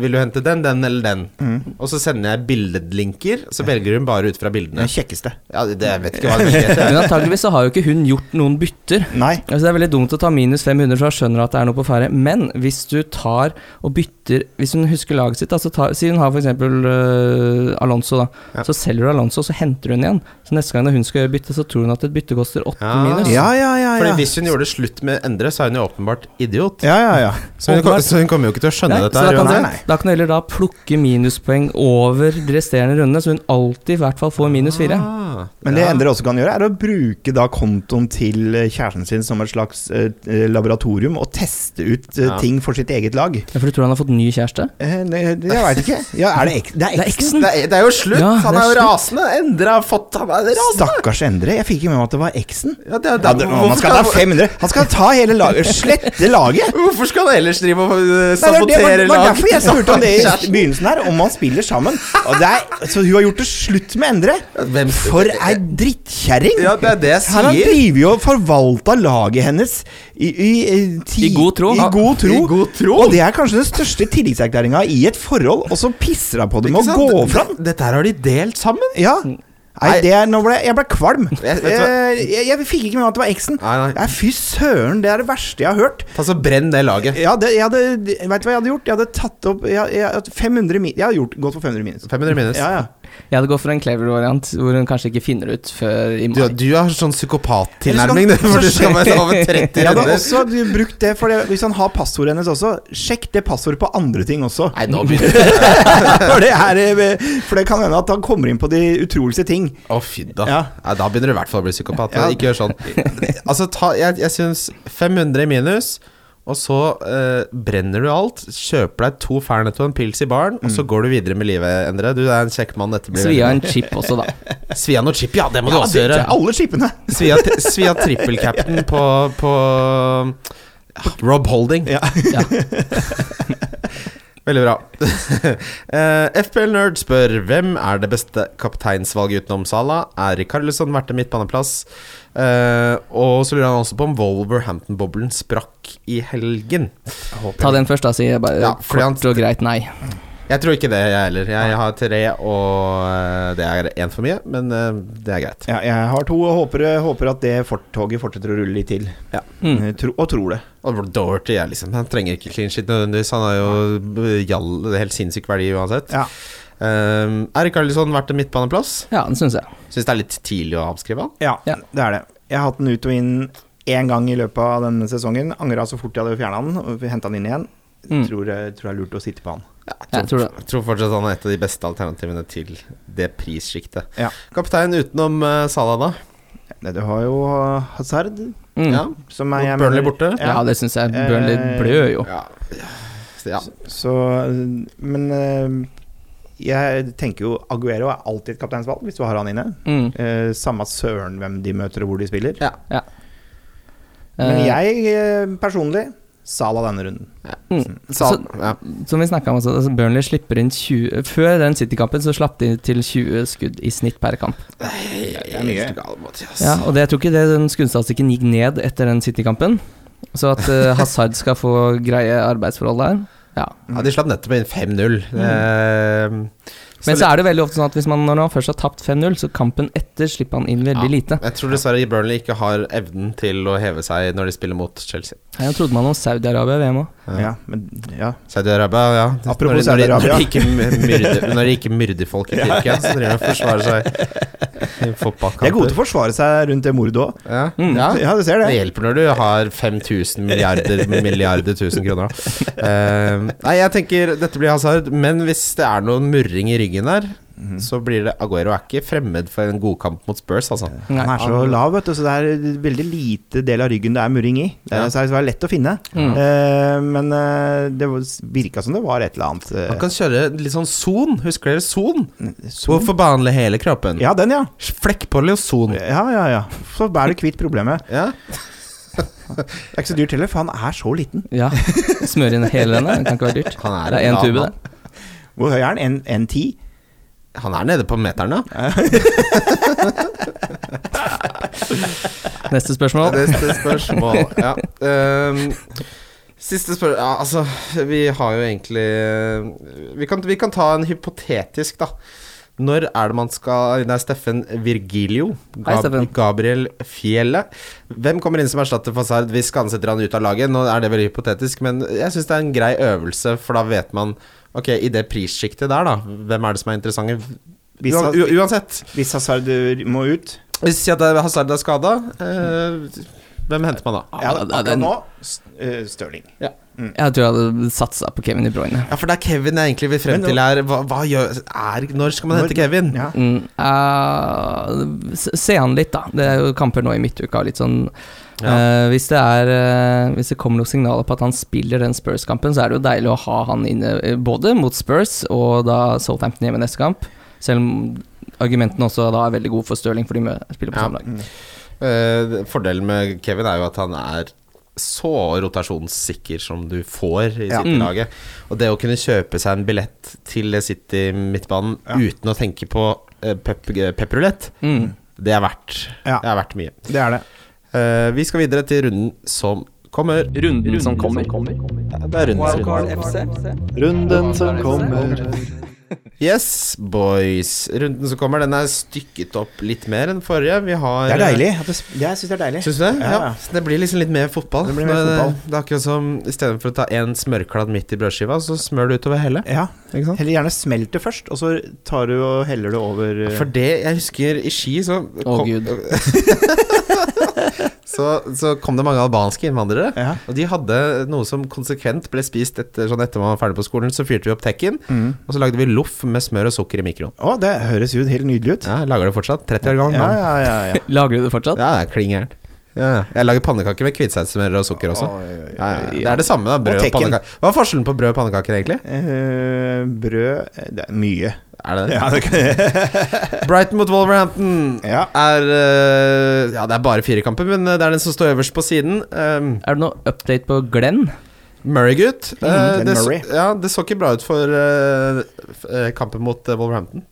[SPEAKER 3] vil du hente den, den eller den? Og så sender jeg billedlinker, så velger hun bare ut fra
[SPEAKER 5] Den
[SPEAKER 3] bildene.
[SPEAKER 5] kjekkeste.
[SPEAKER 3] Ja, det, det jeg vet ikke hva det heter.
[SPEAKER 4] Men antageligvis så har jo ikke hun gjort noen bytter.
[SPEAKER 5] Nei.
[SPEAKER 4] Altså, det er veldig dumt å ta minus 500, for han skjønner at det er noe på ferde. Men hvis du tar og bytter bytter Hvis hun husker laget sitt, da, så tar, si hun har f.eks. Uh, Alonso, da.
[SPEAKER 3] Ja.
[SPEAKER 4] Så selger du Alonso, så henter hun igjen. Så neste gang når hun skal gjøre bytte, så tror hun at et bytte koster åtte
[SPEAKER 3] Ja.
[SPEAKER 4] minus.
[SPEAKER 5] Ja, ja, ja.
[SPEAKER 3] Fordi
[SPEAKER 5] ja.
[SPEAKER 3] hvis hun gjorde slutt med Endre, så er hun jo åpenbart idiot.
[SPEAKER 5] ja, ja, ja.
[SPEAKER 3] Så hun, kom- så hun kommer jo ikke til å skjønne
[SPEAKER 4] Nei,
[SPEAKER 3] dette.
[SPEAKER 4] så da
[SPEAKER 3] her
[SPEAKER 4] kan,
[SPEAKER 5] nei,
[SPEAKER 3] uansett.
[SPEAKER 4] du-
[SPEAKER 5] nei.
[SPEAKER 4] da kan du heller da plukke minuspoeng over de resterende rundene, så hun alltid i hvert fall får minus fire.
[SPEAKER 3] Ah,
[SPEAKER 5] Men det
[SPEAKER 3] ja.
[SPEAKER 5] Endre også kan gjøre, er å bruke da kontoen til eh, kjæresten sin som et slags eh, eh, laboratorium, og teste ut eh,
[SPEAKER 3] Ja.
[SPEAKER 5] ting for sitt eget lag.
[SPEAKER 4] Ja, for du tror han har fått ny kjæreste?
[SPEAKER 5] Eh, ne- jeg veit ikke. Ja, er det, ek det er
[SPEAKER 4] Det er
[SPEAKER 5] eksen?
[SPEAKER 4] eksen!
[SPEAKER 3] det, er, det er jo slutt!
[SPEAKER 4] Ja,
[SPEAKER 3] han
[SPEAKER 4] det
[SPEAKER 3] er jo
[SPEAKER 4] er slutt.
[SPEAKER 3] rasende! Endre har fått Han er rasende!
[SPEAKER 5] Stakkars Endre. Jeg fikk ikke med meg at det var eksen.
[SPEAKER 3] Ja, det er- det er-
[SPEAKER 5] Ja, det,
[SPEAKER 3] hvorfor
[SPEAKER 5] man skal ta 500 Han skal ta hele laget, slette laget!
[SPEAKER 3] Hvorfor skal han ellers drive og øh,
[SPEAKER 5] Nei, det, var, det, var,
[SPEAKER 3] sabotere
[SPEAKER 5] det var derfor jeg spurte om det i begynnelsen her, om han spiller sammen. Og det er, så hun har gjort det slutt med Endre.
[SPEAKER 3] Hvem-
[SPEAKER 5] For ei drittkjerring!
[SPEAKER 3] Ja, det er det jeg
[SPEAKER 5] Her har han
[SPEAKER 3] sier.
[SPEAKER 5] drevet og forvalta laget hennes i, i, eh, ti-
[SPEAKER 4] I god tro.
[SPEAKER 5] I god tro.
[SPEAKER 3] I god tro.
[SPEAKER 5] Og det er kanskje den største tillitserklæringa i et forhold, og så pisser hun på det
[SPEAKER 3] Ikke
[SPEAKER 5] med å
[SPEAKER 3] sant?
[SPEAKER 5] gå
[SPEAKER 3] Det-
[SPEAKER 5] fra
[SPEAKER 3] Dette her har de delt sammen.
[SPEAKER 5] Ja. Nei, det er, nå ble, jeg ble kvalm.
[SPEAKER 3] vet
[SPEAKER 5] Jeg,
[SPEAKER 3] du hva?
[SPEAKER 5] jeg, jeg fikk ikke med meg at det var eksen.
[SPEAKER 3] Nei, nei.
[SPEAKER 5] Nei, Fy søren, det er det verste jeg har hørt.
[SPEAKER 3] Ta så Altså, Brenn det laget.
[SPEAKER 5] Ja, det, jeg hadde, vet du hva jeg hadde gjort? Jeg hadde tatt opp jeg, jeg, hadde 500 min, jeg hadde gjort, gått for 500 minus.
[SPEAKER 3] 500 minus.
[SPEAKER 5] Ja, ja.
[SPEAKER 4] Jeg hadde gått for en clever variant, hvor hun kanskje ikke finner ut før i
[SPEAKER 3] Du,
[SPEAKER 4] mai.
[SPEAKER 3] du har sånn psykopat-tilnærming, du, hvor du skal være over 30
[SPEAKER 5] Jeg hadde
[SPEAKER 3] runder.
[SPEAKER 5] også brukt det, for det, hvis han har passordet hennes også, sjekk det passordet på andre ting også.
[SPEAKER 3] Nei, nå begynner det.
[SPEAKER 5] For det, er, eh, for det kan hende at han kommer inn på de utroligste ting.
[SPEAKER 3] Å, fy da.
[SPEAKER 5] Ja.
[SPEAKER 3] Nei, da begynner du i hvert fall å bli psykopat.
[SPEAKER 5] Ja.
[SPEAKER 3] Ikke gjør sånn. Altså, ta, jeg, jeg syns 500 i minus, og så eh, brenner du alt. Kjøper deg to Fernet og en pils i baren, og
[SPEAKER 5] Mm.
[SPEAKER 3] så går du videre med livet, Endre. Du er en kjekk mann. Dette blir
[SPEAKER 4] Svia
[SPEAKER 3] veldig
[SPEAKER 4] en chip også, da.
[SPEAKER 3] bra. Svia noe chip, ja! Det må du
[SPEAKER 5] Ja,
[SPEAKER 3] også
[SPEAKER 5] det-
[SPEAKER 3] gjøre.
[SPEAKER 5] Alle skipene.
[SPEAKER 3] Svia, tri- svia trippelcapten på, på ja, Rob Holding.
[SPEAKER 5] Ja.
[SPEAKER 4] Ja.
[SPEAKER 3] Veldig bra. Eh, FPL Nerd spør hvem er det beste kapteinsvalget utenom Sala. Er Carlesson verdt en midtbaneplass? Eh, og så lurer han også på om Wolverhampton-boblen sprakk i helgen.
[SPEAKER 4] Ta den først, da, sier jeg bare
[SPEAKER 3] Ja, fordi han-
[SPEAKER 4] kort og greit nei.
[SPEAKER 3] Jeg tror ikke det, jeg heller. Jeg har tre, og eh, det er én for mye, men eh, det er greit.
[SPEAKER 5] Ja, jeg har to og håper, eh, håper at det fortoget fortsetter å rulle litt til.
[SPEAKER 4] Mm.
[SPEAKER 5] Eh, Tro, og tror det.
[SPEAKER 3] Og Doherty er liksom Han trenger ikke clean shit nødvendigvis. Han er jo jall, helt sinnssyk verdi uansett.
[SPEAKER 5] Ja.
[SPEAKER 3] Um, er Carlesson verdt en midtbaneplass?
[SPEAKER 4] Ja, den syns jeg.
[SPEAKER 3] Syns det er litt tidlig å avskrive han.
[SPEAKER 5] Ja,
[SPEAKER 4] Ja.
[SPEAKER 5] det er det. Jeg har hatt den ut og inn én gang i løpet av denne sesongen. Angra så fort jeg hadde fjerna den, og henta den inn igjen.
[SPEAKER 4] Mm.
[SPEAKER 5] Tror, jeg, tror jeg er lurt å sitte på han.
[SPEAKER 4] Jeg tror det.
[SPEAKER 3] Jeg tror fortsatt han er et av de beste alternativene til det prissjiktet.
[SPEAKER 5] Ja.
[SPEAKER 3] Kaptein utenom uh, Salah, da.
[SPEAKER 5] Nei, Du har jo eh, Hazard,
[SPEAKER 3] Ja.
[SPEAKER 4] Mm. Ja.
[SPEAKER 5] som er
[SPEAKER 3] Og
[SPEAKER 5] jeg
[SPEAKER 3] Burnley
[SPEAKER 5] mener-
[SPEAKER 3] borte?
[SPEAKER 5] Ja.
[SPEAKER 4] det syns jeg. Burnley
[SPEAKER 5] Eh,
[SPEAKER 4] blør jo.
[SPEAKER 3] Ja. ja.
[SPEAKER 5] Så, men eh, jeg tenker jo Aguero er alltid et kapteinsvalg hvis du har han inne.
[SPEAKER 4] Mm.
[SPEAKER 5] Eh, samme søren hvem de møter og hvor de spiller.
[SPEAKER 3] Ja.
[SPEAKER 5] Men
[SPEAKER 4] Eh,
[SPEAKER 5] jeg eh, personlig Sala denne runden.
[SPEAKER 4] mm.
[SPEAKER 3] Salah, ja.
[SPEAKER 4] Som vi snakka om, også, altså Burnley slipper inn 20 Før den City-kampen så slapp de til 20 skudd i snitt per kamp.
[SPEAKER 3] Jeg
[SPEAKER 5] er mye.
[SPEAKER 3] helt gal, Mathias.
[SPEAKER 4] Ja, og det, jeg tror ikke det, den skuddstatistikken gikk ned etter den City-kampen. Så at eh, Hazard skal få greie arbeidsforhold der.
[SPEAKER 3] Ja, de slapp nettopp inn 5-0. Eh,
[SPEAKER 4] Men
[SPEAKER 3] så
[SPEAKER 4] så er det veldig ofte sånn at hvis man, når han først har tapt 5-0, så kampen etter slipper han inn veldig
[SPEAKER 3] Ja.
[SPEAKER 4] lite.
[SPEAKER 3] Jeg tror dessverre Burnley ikke har evnen til å heve seg når de spiller mot Chelsea.
[SPEAKER 4] Jeg trodde man om Saudi-Arabia i VM òg.
[SPEAKER 3] Ja.
[SPEAKER 5] Ja, men ja.
[SPEAKER 3] Saudi-Arabia, ja. Når de- når
[SPEAKER 5] Apropos
[SPEAKER 3] de-
[SPEAKER 5] Saudi-Arabia.
[SPEAKER 3] Når de ikke myrder- når de ikke myrder folk i Tyrkia, så driver de og forsvarer seg i fotballkamper.
[SPEAKER 5] De er gode til å forsvare seg rundt det mordet òg.
[SPEAKER 3] ja.
[SPEAKER 4] Mm.
[SPEAKER 3] ja.
[SPEAKER 5] Ja, du ser
[SPEAKER 3] Det
[SPEAKER 5] det.
[SPEAKER 3] hjelper når du har 5000 milliarder milliarder tusen kroner. da. Eh, nei, jeg tenker dette blir hasard, men hvis det er noen murring i ryggen der,
[SPEAKER 5] Mm.
[SPEAKER 3] så blir det Aguero er ikke fremmed for en godkamp mot Spurs, altså.
[SPEAKER 4] Nei.
[SPEAKER 5] Han er så lav, vet du, så det er veldig lite del av ryggen det er murring i. Det er,
[SPEAKER 3] Ja.
[SPEAKER 5] så det er lett å finne.
[SPEAKER 4] Mm.
[SPEAKER 5] Eh, men eh, det virka som det var et eller annet. eh,
[SPEAKER 3] Man kan kjøre litt sånn son. Husker dere son?
[SPEAKER 5] sol.
[SPEAKER 3] Hvorfor behandle hele kroppen?
[SPEAKER 5] Ja, den, ja.
[SPEAKER 3] Flekkpolly og son.
[SPEAKER 5] Ja, ja, ja. Så er du kvitt problemet.
[SPEAKER 3] Ja.
[SPEAKER 5] Det er ikke så dyrt heller, for han er så liten.
[SPEAKER 4] Ja. Smøre inn hele denne, det kan ikke være dyrt.
[SPEAKER 3] Han er
[SPEAKER 4] det
[SPEAKER 3] en
[SPEAKER 4] er én
[SPEAKER 3] annen
[SPEAKER 4] tube,
[SPEAKER 3] mann.
[SPEAKER 4] det.
[SPEAKER 5] Hvor høy er han? En- 1,10?
[SPEAKER 3] Han er nede på meteren, ja.
[SPEAKER 4] Neste spørsmål.
[SPEAKER 3] Neste spørsmål. Ja. Ehm, siste spørsmål ja, Altså, vi har jo egentlig eh, vi kan, vi kan ta en hypotetisk, da. Når er det man skal Det er Steffen Virgilio.
[SPEAKER 4] Hei, Steffen.
[SPEAKER 3] Gabriel Fjellet. Hvem kommer inn som erstatter Fasard hvis Skan setter han ut av laget? Nå er det veldig hypotetisk, men jeg syns det er en grei øvelse, for da vet man Ok, i det prissjiktet der, da, hvem er det som er interessante?
[SPEAKER 5] Hvis
[SPEAKER 3] Ua-
[SPEAKER 5] han-
[SPEAKER 3] u- uansett.
[SPEAKER 5] Hvis Hazard eh, må ut
[SPEAKER 3] Hvis si at det er Hazard er skada, eh, hvem henter man da?
[SPEAKER 5] ja,
[SPEAKER 4] det er
[SPEAKER 5] Akkurat
[SPEAKER 4] den-
[SPEAKER 5] nå s- eh, Stirling.
[SPEAKER 4] Jeg tror jeg hadde satsa på Kevin De Bruyne.
[SPEAKER 3] Ja, for det er Kevin jeg egentlig vil frem
[SPEAKER 5] Men nå-
[SPEAKER 3] til her. Hva, hva gjør er, Når skal man
[SPEAKER 5] Når-
[SPEAKER 3] hente Kevin?
[SPEAKER 5] Ja.
[SPEAKER 4] Mm, eh, se- se han litt, da. Det er jo kamper nå i midtuka. og Litt sånn,
[SPEAKER 3] Ja.
[SPEAKER 4] eh, hvis, det er, eh, hvis det kommer noen signaler på at han spiller den Spurs-kampen, så er det jo deilig å ha han inne eh, både mot Spurs og da Southampton hjemme neste kamp. Selv om argumentene også da er veldig gode for Stirling, for de mø- spiller på
[SPEAKER 3] Ja.
[SPEAKER 4] samme lag.
[SPEAKER 3] Eh, fordelen med Kevin er jo at han er så rotasjonssikker som du får i
[SPEAKER 5] Ja.
[SPEAKER 3] City-laget. Og det å kunne kjøpe seg en billett til City-midtbanen
[SPEAKER 5] Ja.
[SPEAKER 3] uten å tenke på eh, pep, pepperulett,
[SPEAKER 4] Mm.
[SPEAKER 3] det er verdt,
[SPEAKER 5] Ja.
[SPEAKER 3] det er verdt mye.
[SPEAKER 5] Det er det.
[SPEAKER 3] Eh, vi skal videre til runden som kommer.
[SPEAKER 4] Runden som kommer.
[SPEAKER 3] Det er rundens runde.
[SPEAKER 1] Wildcard FC.
[SPEAKER 6] Runden som kommer.
[SPEAKER 3] Yes, boys. Runden som kommer, den er stykket opp litt mer enn forrige. Vi har
[SPEAKER 5] Det er deilig. at det s- det- Jeg syns det er deilig.
[SPEAKER 3] Syns du det?
[SPEAKER 5] Ja,
[SPEAKER 3] Ja.
[SPEAKER 5] ja.
[SPEAKER 3] Så det blir liksom litt mer fotball.
[SPEAKER 5] Det blir mer
[SPEAKER 3] Nå er
[SPEAKER 5] fotball.
[SPEAKER 3] Det, er akkurat som istedenfor å ta én smørkladd midt i brødskiva, så smør du utover hele.
[SPEAKER 5] Ja.
[SPEAKER 3] Ikke sant?
[SPEAKER 5] Heller gjerne smelt det først, og så tar du og heller det over eh,
[SPEAKER 3] For det jeg husker i Ski, så
[SPEAKER 4] Å, Gud.
[SPEAKER 3] så, så kom det mange albanske innvandrere.
[SPEAKER 5] ja.
[SPEAKER 3] Og de hadde noe som konsekvent ble spist etter, sånn etter man var ferdig på skolen. Så fyrte vi opp tekken,
[SPEAKER 5] Mm.
[SPEAKER 3] og så lagde vi loff med smør og sukker i mikroen.
[SPEAKER 5] Å, det høres jo helt nydelig ut.
[SPEAKER 3] Ja, jeg Lager det fortsatt. 30 år
[SPEAKER 5] Ja,
[SPEAKER 3] gammel.
[SPEAKER 5] ja,
[SPEAKER 3] mann.
[SPEAKER 5] ja. ja,
[SPEAKER 4] Lager du det fortsatt?
[SPEAKER 3] Ja, det er klin gærent. Ja. Jeg lager pannekaker med hvitsausmør og sukker også.
[SPEAKER 5] Oi, oi, oi.
[SPEAKER 3] Ja, ja. Det er det samme, da. Brød og,
[SPEAKER 5] tekken.
[SPEAKER 3] pannekaker. Hva er forskjellen på brød og pannekaker, egentlig?
[SPEAKER 5] Eh, brød eh, Det er mye.
[SPEAKER 3] Er det det?
[SPEAKER 5] det
[SPEAKER 3] Brighton mot Wolverhampton
[SPEAKER 5] Ja.
[SPEAKER 3] er eh, Ja, det er bare fire kamper, men eh, det er den som står øverst på siden. Um,
[SPEAKER 4] Er det noe update på Glenn?
[SPEAKER 3] Murraygut. eh,
[SPEAKER 5] Mm, Glenn
[SPEAKER 3] det,
[SPEAKER 5] Murray.
[SPEAKER 3] så, ja, det så ikke bra ut for eh, f- eh, kampen mot eh, Wolverhampton.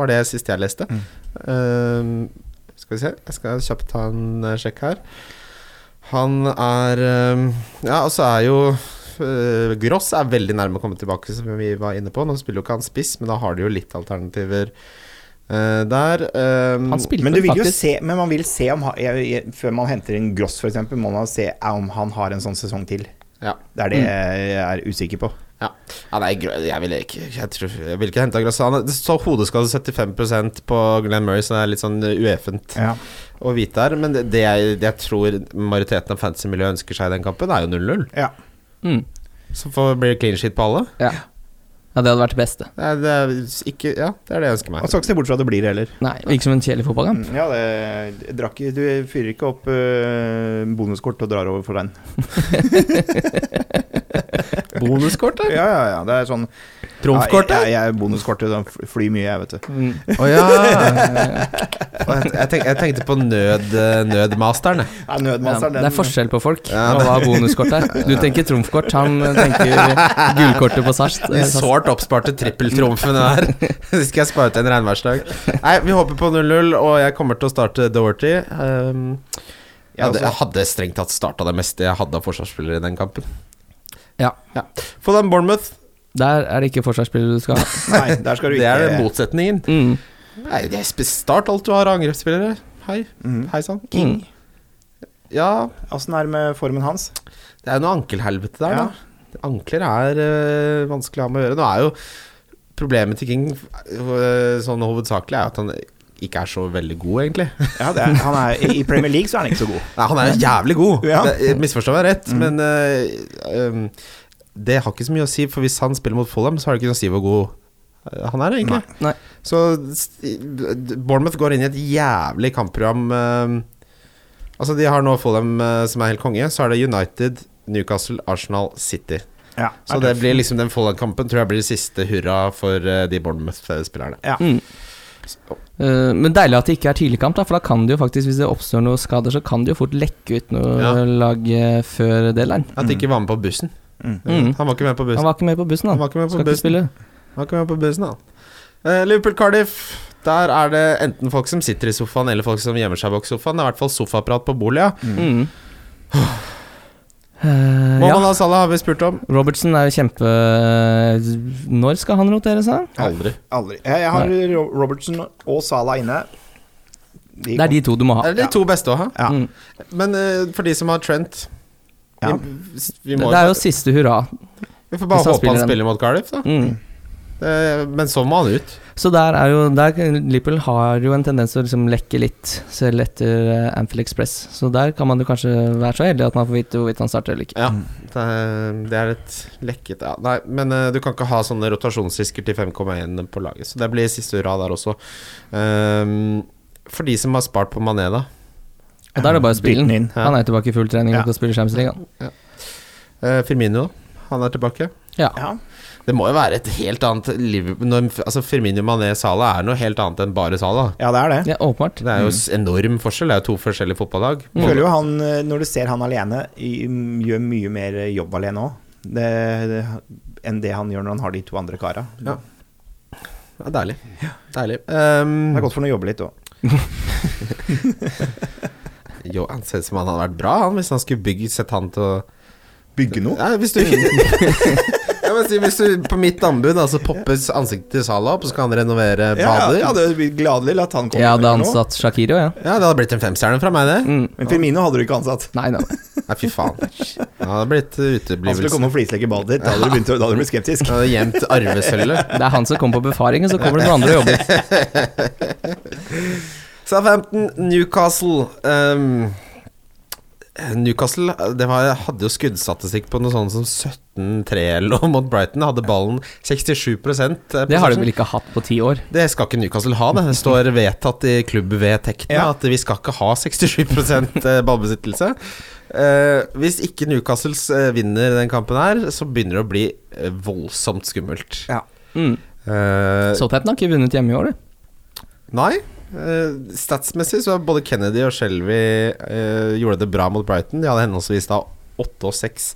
[SPEAKER 3] Var det siste jeg leste.
[SPEAKER 5] Mm.
[SPEAKER 3] Um, skal vi se, jeg skal kjapt ta en eh, sjekk her. Han er um, Ja, og så er jo eh, Gross er veldig nærme å komme tilbake, som vi var inne på. Nå spiller jo ikke han spiss, men da har de jo litt alternativer eh, der. Um,
[SPEAKER 4] Han spilte
[SPEAKER 5] Men, du vil jo
[SPEAKER 4] faktisk
[SPEAKER 5] se, men man vil se om ha- jeg, jeg, Før man henter inn Gross, f.eks., må man se om han har en sånn sesong til.
[SPEAKER 3] Ja.
[SPEAKER 5] Det er det jeg er usikker på.
[SPEAKER 3] Ja. ja nei, Gro- jeg ville ikke Jeg, tror, jeg ville ikke henta Grazana. Det står hodeskade 75 på Glenn Murray, så det er litt sånn ueffent
[SPEAKER 5] Ja.
[SPEAKER 3] å vite her. Men det, det, jeg, det jeg tror majoriteten av fantasy-miljøet ønsker seg i den kampen, er jo 0-0.
[SPEAKER 5] Ja.
[SPEAKER 4] mm.
[SPEAKER 3] Så får blir det clean shit på alle.
[SPEAKER 4] ja. ja, det hadde vært det beste.
[SPEAKER 3] Det er, det er ikke Ja, det er det jeg ønsker
[SPEAKER 5] Man
[SPEAKER 3] meg.
[SPEAKER 5] skal ikke se bort fra at det blir det heller. Mm,
[SPEAKER 4] Nei, Virker som en kjedelig fotballkamp.
[SPEAKER 5] Ja, det, jeg drakk, du fyrer ikke opp eh, bonuskort og drar over for den.
[SPEAKER 3] Bonuskort,
[SPEAKER 5] Ja, ja, ja. Det er sånn Ja,
[SPEAKER 3] Trumfkortet?
[SPEAKER 5] jeg, jeg er bonuskortet. sånn fly- Fly mye, jeg, vet du.
[SPEAKER 4] Mm.
[SPEAKER 3] Å ja. Jeg, jeg, tenk, jeg tenkte på nød, eh, nødmasteren, jeg.
[SPEAKER 5] Ja,
[SPEAKER 4] Ja,
[SPEAKER 5] nødmasteren,
[SPEAKER 4] det er
[SPEAKER 5] den-
[SPEAKER 4] forskjell på folk.
[SPEAKER 3] Ja,
[SPEAKER 4] og hva er bonuskort er. Du tenker trumfkort, han eh, tenker gullkortet på Sars. Eh,
[SPEAKER 3] Den sårt oppsparte trippeltrumfen der. Det skal jeg spare til en regnværsdag. Nei, vi håper på 0-0, og jeg kommer til å starte Doherty. Um, jeg,
[SPEAKER 5] Ja,
[SPEAKER 3] hadde,
[SPEAKER 5] altså-
[SPEAKER 3] jeg hadde strengt tatt starta det meste jeg hadde av forsvarsspillere i den kampen.
[SPEAKER 4] Ja.
[SPEAKER 3] Få den Bournemouth.
[SPEAKER 4] Der er det ikke forsvarsspillere du skal ha.
[SPEAKER 5] Nei, der skal du
[SPEAKER 3] Det
[SPEAKER 5] ikke
[SPEAKER 3] er motsetningen.
[SPEAKER 4] Mm.
[SPEAKER 3] Nei, det er sp- start alt du har av angrepsspillere. Hei.
[SPEAKER 5] Mhm.
[SPEAKER 3] Hei sann.
[SPEAKER 4] Mm.
[SPEAKER 3] Ja,
[SPEAKER 5] Åssen er det med formen hans?
[SPEAKER 3] det er noe ankelhelvete der,
[SPEAKER 5] Ja.
[SPEAKER 3] da. Ankler er øh, vanskelig å ha med å gjøre. Nå er jo problemet til King øh, sånn hovedsakelig er at han ikke er så veldig god, egentlig.
[SPEAKER 5] Ja, det er, han er, I Premier League så er han ikke så god.
[SPEAKER 3] Nei, han er jo jævlig god.
[SPEAKER 5] Ja.
[SPEAKER 3] Det- jeg Misforstå meg rett,
[SPEAKER 4] Mm.
[SPEAKER 3] men eh, um, det har ikke så mye å si. For hvis han spiller mot Fulham, så har det ikke noe å si hvor god eh, han er, egentlig.
[SPEAKER 4] Nei. Nei.
[SPEAKER 3] Så s- i- d- Bournemouth går inn i et jævlig kampprogram. eh, altså, de har nå Fulham eh, som er helt konge. Så er det United, Newcastle, Arsenal, City.
[SPEAKER 5] Ja,
[SPEAKER 3] Så det blir liksom den Fulham-kampen tror jeg blir siste hurra for eh, de Bournemouth-spillerne.
[SPEAKER 4] Mm. Eh, men deilig at det ikke er tidligkamp, da, for da kan det jo faktisk, hvis det oppstår noen skader, så kan det jo fort lekke ut noe
[SPEAKER 3] Ja.
[SPEAKER 4] lag eh, før deadline.
[SPEAKER 3] At de ikke var med på bussen.
[SPEAKER 5] Mm.
[SPEAKER 4] Mm.
[SPEAKER 3] Han var ikke med på bussen.
[SPEAKER 4] Han var ikke med på bussen,
[SPEAKER 3] Han
[SPEAKER 4] han.
[SPEAKER 3] var ikke med på
[SPEAKER 4] Skal ikke
[SPEAKER 3] bussen.
[SPEAKER 4] spille.
[SPEAKER 3] Da kan vi på bussen, da. Eh, Liverpool-Cardiff. Der er det enten folk som sitter i sofaen, eller folk som gjemmer seg bak sofaen. Det er i hvert fall sofaapparat på bolig, ja.
[SPEAKER 4] Mm. Eh, Ja.
[SPEAKER 3] Mohammed Salah har vi spurt om.
[SPEAKER 4] Robertson er jo kjempe eh, Når skal han roteres, da?
[SPEAKER 3] Aldri.
[SPEAKER 5] Aldri. Jeg, jeg har Ro- Robertson og Salah inne. De
[SPEAKER 4] Det er de to du må
[SPEAKER 3] Det
[SPEAKER 4] ha.
[SPEAKER 3] er de to beste å ha.
[SPEAKER 5] Ja.
[SPEAKER 4] Mm.
[SPEAKER 3] Men eh, for de som har Trent
[SPEAKER 5] Ja.
[SPEAKER 3] vi, vi, må,
[SPEAKER 4] Det er jo siste hurra.
[SPEAKER 3] vi får bare
[SPEAKER 4] hvis han
[SPEAKER 3] håpe han
[SPEAKER 4] spiller
[SPEAKER 3] spiller mot Cardiff, da.
[SPEAKER 4] Mm.
[SPEAKER 3] Eh, men så må han ut.
[SPEAKER 4] Så der er jo der, Liverpool har jo en tendens til å liksom lekke litt, selv etter eh, Anfield Express. Så der kan man jo kanskje være så heldig at man får vite hvorvidt han starter eller ikke.
[SPEAKER 3] Ja, det er, det er et lekket ja. Nei, men eh, du kan ikke ha sånne rotasjonsrisker til 5,1 på laget, så det blir siste hurra der også. Ehm, for de som har spart på Mané, da.
[SPEAKER 4] Og da er det bare å spille
[SPEAKER 5] Dytten
[SPEAKER 4] den.
[SPEAKER 5] inn.
[SPEAKER 4] Han er jo tilbake i full trening
[SPEAKER 5] Ja.
[SPEAKER 4] og skal spille Champions League. han.
[SPEAKER 3] Eh, Firmino, han er tilbake.
[SPEAKER 5] Ja.
[SPEAKER 3] Det må jo være et helt annet liv når, Altså Firmino Mané Sala er noe helt annet enn bare Sala.
[SPEAKER 5] ja, det er det.
[SPEAKER 4] Ja, åpenbart.
[SPEAKER 3] Det er jo s- enorm forskjell. Det er jo to forskjellige fotballag.
[SPEAKER 5] Jeg føler jo han, eh, når du ser han alene, i- gjør mye mer jobb alene òg. Det, enn det han gjør når han har de to andre kara.
[SPEAKER 3] Ja. Ja, deilig. Deilig.
[SPEAKER 5] Det er
[SPEAKER 3] Um,
[SPEAKER 5] godt for han å jobbe litt òg.
[SPEAKER 3] jo, han ser ut som han hadde vært bra, han, hvis han skulle bygge, sett han til å
[SPEAKER 5] Bygge noe?
[SPEAKER 3] Nei, hvis du Jeg må si, hvis du på mitt anbud altså, poppes ansiktet til Salah opp, og så kan han renovere
[SPEAKER 5] Ja,
[SPEAKER 3] bader
[SPEAKER 5] jeg
[SPEAKER 3] Ja, det,
[SPEAKER 5] hadde gladelig latt han komme.
[SPEAKER 4] Jeg hadde
[SPEAKER 5] med noe.
[SPEAKER 4] ansatt Shakiro, ja.
[SPEAKER 3] hadde blitt en femstjerne fra meg, det.
[SPEAKER 4] Mm.
[SPEAKER 5] Men Firmino hadde du ikke ansatt.
[SPEAKER 4] Nei, nei.
[SPEAKER 3] Nei, fy faen. Ja, det hadde blitt
[SPEAKER 5] Han skulle komme
[SPEAKER 3] uteblivelse.
[SPEAKER 5] og flislegge badet ditt. Da hadde du begynt å- da hadde du blitt skeptisk.
[SPEAKER 3] Jeg hadde gjemt arvesølvet.
[SPEAKER 4] Det er han som kommer på befaringen, så kommer det noen andre og jobber.
[SPEAKER 3] Southampton, Newcastle ehm, Newcastle det var, hadde jo skuddstatistikk på noe sånt som 17-3 eller noe mot Brighton. Hadde ballen 67
[SPEAKER 4] Det har de vel ikke hatt på ti år.
[SPEAKER 3] Det skal ikke Newcastle ha, det. Det står vedtatt i klubbvedtektene
[SPEAKER 5] Ja.
[SPEAKER 3] at vi skal ikke ha 67 ballbesittelse. Eh, hvis ikke Newcastle eh, vinner den kampen her, så begynner det å bli eh, voldsomt skummelt.
[SPEAKER 5] Ja.
[SPEAKER 4] Mm.
[SPEAKER 3] Eh,
[SPEAKER 4] Southampton har ikke vunnet hjemme i år, du.
[SPEAKER 3] nei. eh, statsmessig så både Kennedy og Shelby eh, gjorde det bra mot Brighton. De hadde henholdsvis da åtte og seks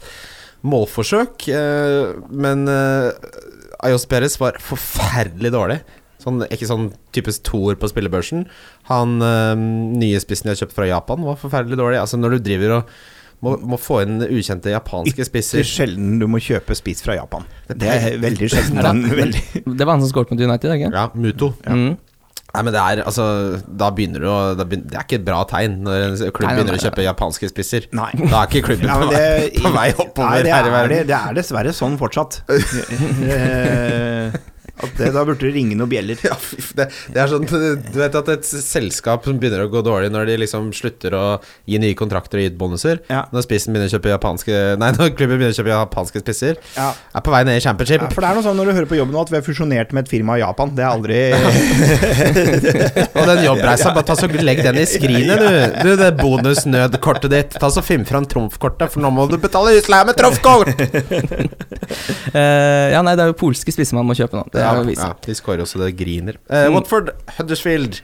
[SPEAKER 3] målforsøk. eh, men eh, Ayos Perez var forferdelig dårlig. Sånn, ikke sånn typisk toer på spillebørsen. Han eh, nye spissen de har kjøpt fra Japan, var forferdelig dårlig. Altså Når du driver og må, må få inn ukjente japanske
[SPEAKER 5] Det er
[SPEAKER 3] spisser
[SPEAKER 5] sjelden du må kjøpe spiss fra Japan. Det er veldig sjelden.
[SPEAKER 4] Ja,
[SPEAKER 5] Han,
[SPEAKER 4] men-
[SPEAKER 5] veldig.
[SPEAKER 4] Det var han som skåret mot United, ikke
[SPEAKER 3] Ja, Muto.
[SPEAKER 4] Mm.
[SPEAKER 3] Nei, men det er altså Da begynner du å da begyn- Det er ikke et bra tegn når en klubb
[SPEAKER 4] Nei, nei,
[SPEAKER 3] begynner å
[SPEAKER 4] nei,
[SPEAKER 3] kjøpe japanske spisser.
[SPEAKER 5] Nei.
[SPEAKER 3] Da er ikke klubben
[SPEAKER 5] Ja,
[SPEAKER 3] på,
[SPEAKER 5] men det-
[SPEAKER 3] vei, på vei oppover
[SPEAKER 5] Nei, det
[SPEAKER 3] her i
[SPEAKER 5] er,
[SPEAKER 3] verden.
[SPEAKER 5] det, det er dessverre sånn fortsatt. Eh, At det, da burde det ringe noen bjeller.
[SPEAKER 3] Ja, fy f- det, det er sånn Du vet at et selskap som begynner å gå dårlig når de liksom slutter å gi nye kontrakter og gi ut bonuser
[SPEAKER 5] Ja.
[SPEAKER 3] Når spissen begynner å kjøpe japanske Nei, når klubben begynner å kjøpe japanske spisser,
[SPEAKER 5] Ja.
[SPEAKER 3] er på vei ned i championship.
[SPEAKER 5] Ja, for det er noe sånn når du hører på jobben nå at vi er fusjonert med et firma i Japan. Det er aldri
[SPEAKER 3] Og den jobbreisa, bare ta så legg den i skrinet, du. Du, det bonusnødkortet ditt. Ta så finn fram trumfkortet, for nå må du betale husleie med trumfkort!
[SPEAKER 4] Eh, ja, nei, det er jo polske spisser man må kjøpe nå. Det er jo vist.
[SPEAKER 3] ja, de skårer også, det griner. Eh,
[SPEAKER 4] Mm.
[SPEAKER 3] Watford, Huddersfield.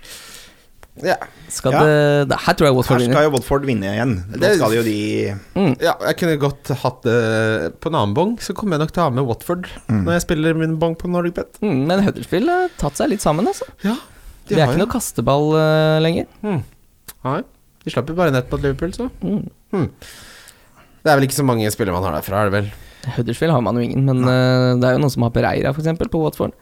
[SPEAKER 3] Ja,
[SPEAKER 4] Skal
[SPEAKER 5] Ja.
[SPEAKER 4] det, det Her tror jeg Watford
[SPEAKER 5] Her skal
[SPEAKER 4] vinner.
[SPEAKER 5] jo Watford vinne igjen. Nå
[SPEAKER 3] Det-
[SPEAKER 5] skal jo de
[SPEAKER 4] Mm.
[SPEAKER 3] ja, jeg kunne godt hatt det på en annen bong, så kommer jeg nok til å ha med Watford når jeg spiller min bong på Nordic Bet.
[SPEAKER 4] Mm, men Huddersfield har tatt seg litt sammen, altså.
[SPEAKER 3] Ja,
[SPEAKER 4] De er ikke noe kasteball eh, lenger.
[SPEAKER 3] Mm. Nei, de slapp jo bare nett mot Liverpool, så.
[SPEAKER 4] Mm.
[SPEAKER 3] Det er vel ikke så mange spillere man har derfra, er det vel?
[SPEAKER 4] Huddersfield har man jo ingen, men eh, det er jo noen som har Pereira, for eksempel på Watford.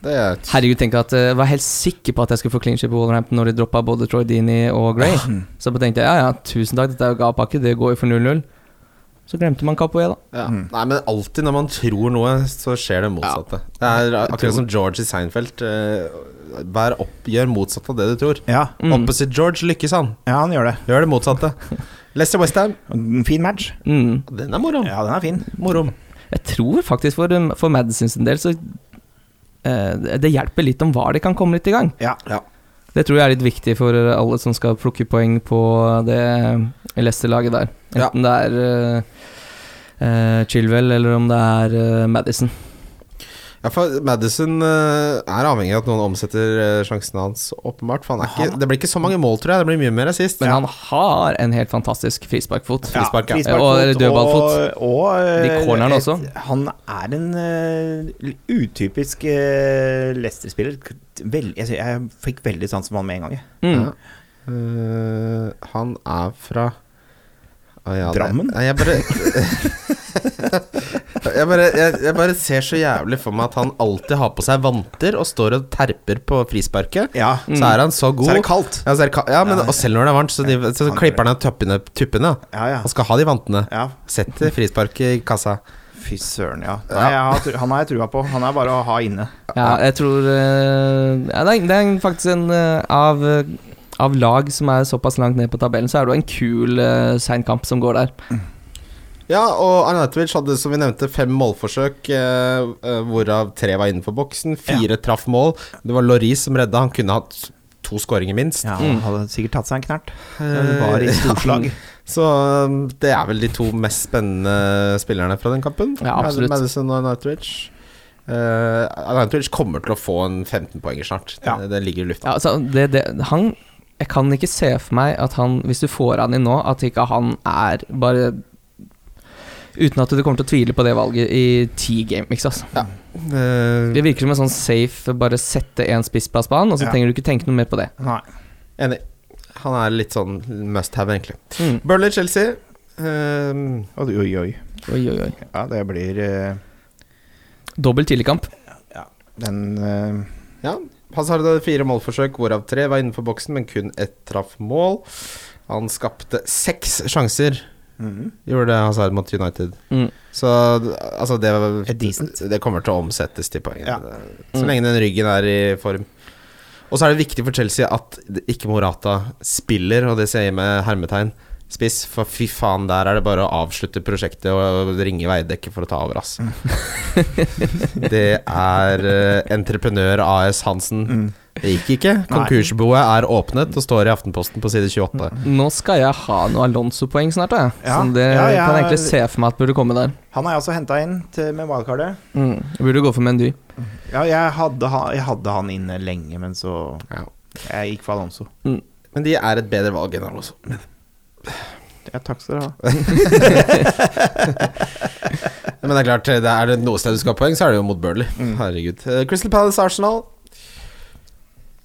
[SPEAKER 3] Det er
[SPEAKER 4] Herregud, tenk at eh, jeg var helt sikker på at jeg skulle få clean ship på Wolverhampton når de droppa både Troy Deeney og Gray. Så bare tenkte jeg ja, ja, tusen takk, dette er jo gavepakke, det går jo for 0-0. Så glemte man Capoe, da.
[SPEAKER 3] ja. Nei, men alltid når man tror noe, så skjer det motsatte. Det er akkurat som George i Seinfeld. eh, Vær opp, gjør motsatt av det du tror.
[SPEAKER 5] ja,
[SPEAKER 4] Mm.
[SPEAKER 3] Opposite George lykkes han.
[SPEAKER 5] ja, han gjør det.
[SPEAKER 3] Gjør det motsatte. Leicester Westham.
[SPEAKER 5] En Fin match.
[SPEAKER 4] Mm.
[SPEAKER 3] Den er moro.
[SPEAKER 5] Ja, den er fin.
[SPEAKER 3] Moro.
[SPEAKER 4] Jeg tror faktisk for, um, for Madison sin del så eh, Det hjelper litt om VAR de kan komme litt i gang.
[SPEAKER 5] Ja.
[SPEAKER 4] Det tror jeg er litt viktig for eh, alle som skal plukke poeng på det eh, Leicester-laget der.
[SPEAKER 3] Ja.
[SPEAKER 4] Enten det er eh, eh, Chilwell eller om det er eh, Madison.
[SPEAKER 3] Ja, for Madison eh, er avhengig av at noen omsetter eh, sjansene hans, åpenbart. For han er ikke, det blir ikke så mange mål, tror jeg. Det blir mye mer assist.
[SPEAKER 4] Men han har en helt fantastisk frisparkfot.
[SPEAKER 5] Ja,
[SPEAKER 3] Frispark, ja.
[SPEAKER 5] frisparkfot
[SPEAKER 4] Og dødballfot.
[SPEAKER 5] Og, og
[SPEAKER 4] De cornerne også.
[SPEAKER 5] Han er en eh, utypisk uh, Leicester-spiller. Vel, jeg, jeg fikk veldig sans for han med en gang. jeg.
[SPEAKER 4] Mm.
[SPEAKER 3] Eh, han er fra Å, ja, det-
[SPEAKER 5] Drammen?
[SPEAKER 3] Nei, jeg bare Jeg bare, jeg, jeg bare ser så jævlig for meg at han alltid har på seg vanter og står og terper på frisparket.
[SPEAKER 5] Ja,
[SPEAKER 3] Så er han så god.
[SPEAKER 5] så er det kaldt.
[SPEAKER 3] Ja, så er det ka- ja, men, og selv når det er varmt, så, de, så
[SPEAKER 5] han-
[SPEAKER 3] klipper han av tuppene. tuppene.
[SPEAKER 5] Ja, ja.
[SPEAKER 3] Han skal ha de vantene.
[SPEAKER 5] ja.
[SPEAKER 3] Setter frisparket i kassa.
[SPEAKER 5] Fy søren, ja. Nei, jeg har, tru- han har jeg trua på. Han er bare å ha inne.
[SPEAKER 4] Ja, jeg tror eh, ja, det, er, det er faktisk en eh, av, eh, av lag som er såpass langt ned på tabellen, så er det jo en kul eh, seinkamp som går der.
[SPEAKER 3] Ja, og Arnautovic hadde som vi nevnte fem målforsøk, eh, eh, hvorav tre var innenfor boksen. Fire traff mål. Det var Loris som redda. Han kunne hatt to skåringer, minst. Eh,
[SPEAKER 5] Ja, han hadde sikkert tatt seg en knert. Det var i storslag.
[SPEAKER 3] Så um, det er vel de to mest spennende spillerne fra den kampen.
[SPEAKER 4] Ja, absolutt.
[SPEAKER 3] Madison og Arnautovic. Uh, Arnautovic kommer til å få en 15-poenger snart.
[SPEAKER 5] Ja.
[SPEAKER 3] Det, det ligger i lufta.
[SPEAKER 4] Ja, altså, det, det, han Jeg kan ikke se for meg at han, hvis du får han inn nå, at ikke han er bare Uten at du kommer til å tvile på det valget i ti gameweeks, altså.
[SPEAKER 3] Uh,
[SPEAKER 4] Det virker som en sånn safe bare sette én spissplass på han, og så
[SPEAKER 5] Mm. Ja.
[SPEAKER 4] trenger du ikke tenke noe mer på det.
[SPEAKER 5] Nei.
[SPEAKER 3] enig. Han er litt sånn must have, egentlig.
[SPEAKER 4] Mm.
[SPEAKER 3] Burnley-Chelsea. Um,
[SPEAKER 5] Oi, oi, oi.
[SPEAKER 4] Oi, oi, oi.
[SPEAKER 5] Ja, det blir eh,
[SPEAKER 4] Dobbel tidligkamp.
[SPEAKER 5] den eh,
[SPEAKER 3] Ja, Hazard hadde fire målforsøk, hvorav tre var innenfor boksen, men kun ett traff mål. Han skapte seks sjanser,
[SPEAKER 5] mhm.
[SPEAKER 3] gjorde Hazard mot United.
[SPEAKER 4] Mm.
[SPEAKER 3] Så altså, det,
[SPEAKER 5] Er decent.
[SPEAKER 3] det kommer til å omsettes til poeng.
[SPEAKER 5] Ja.
[SPEAKER 3] Så lenge den ryggen er i form. Og så er det viktig for Chelsea at det- ikke Morata spiller, og det sier jeg med hermetegn, spiss. For fy faen, der er det bare å avslutte prosjektet og ringe Veidekke for å ta over, ass. det er eh, entreprenør AS Hansen.
[SPEAKER 5] Mm.
[SPEAKER 3] Det gikk ikke. Konkursboet er åpnet og står i Aftenposten på side 28.
[SPEAKER 4] Nå skal jeg ha noe Alonso-poeng snart, da.
[SPEAKER 5] Ja.
[SPEAKER 4] Som det
[SPEAKER 5] Ja, ja.
[SPEAKER 4] kan jeg egentlig se for meg at burde komme der.
[SPEAKER 5] Han har jeg også henta inn til, med wildcardet.
[SPEAKER 4] Mm. Jeg Burde gå for Mendy.
[SPEAKER 5] Ja, jeg hadde, ha- jeg hadde han inne lenge, men så
[SPEAKER 3] Ja.
[SPEAKER 5] Jeg gikk for Alonso.
[SPEAKER 3] Men de er et bedre valg enn Alonso.
[SPEAKER 5] Ja, takk skal dere ha.
[SPEAKER 3] Men det er klart, det er det noe sted du skal ha poeng, så er det jo mot Burnley.
[SPEAKER 5] Mm.
[SPEAKER 3] Herregud. Eh, Crystal Palace Arsenal.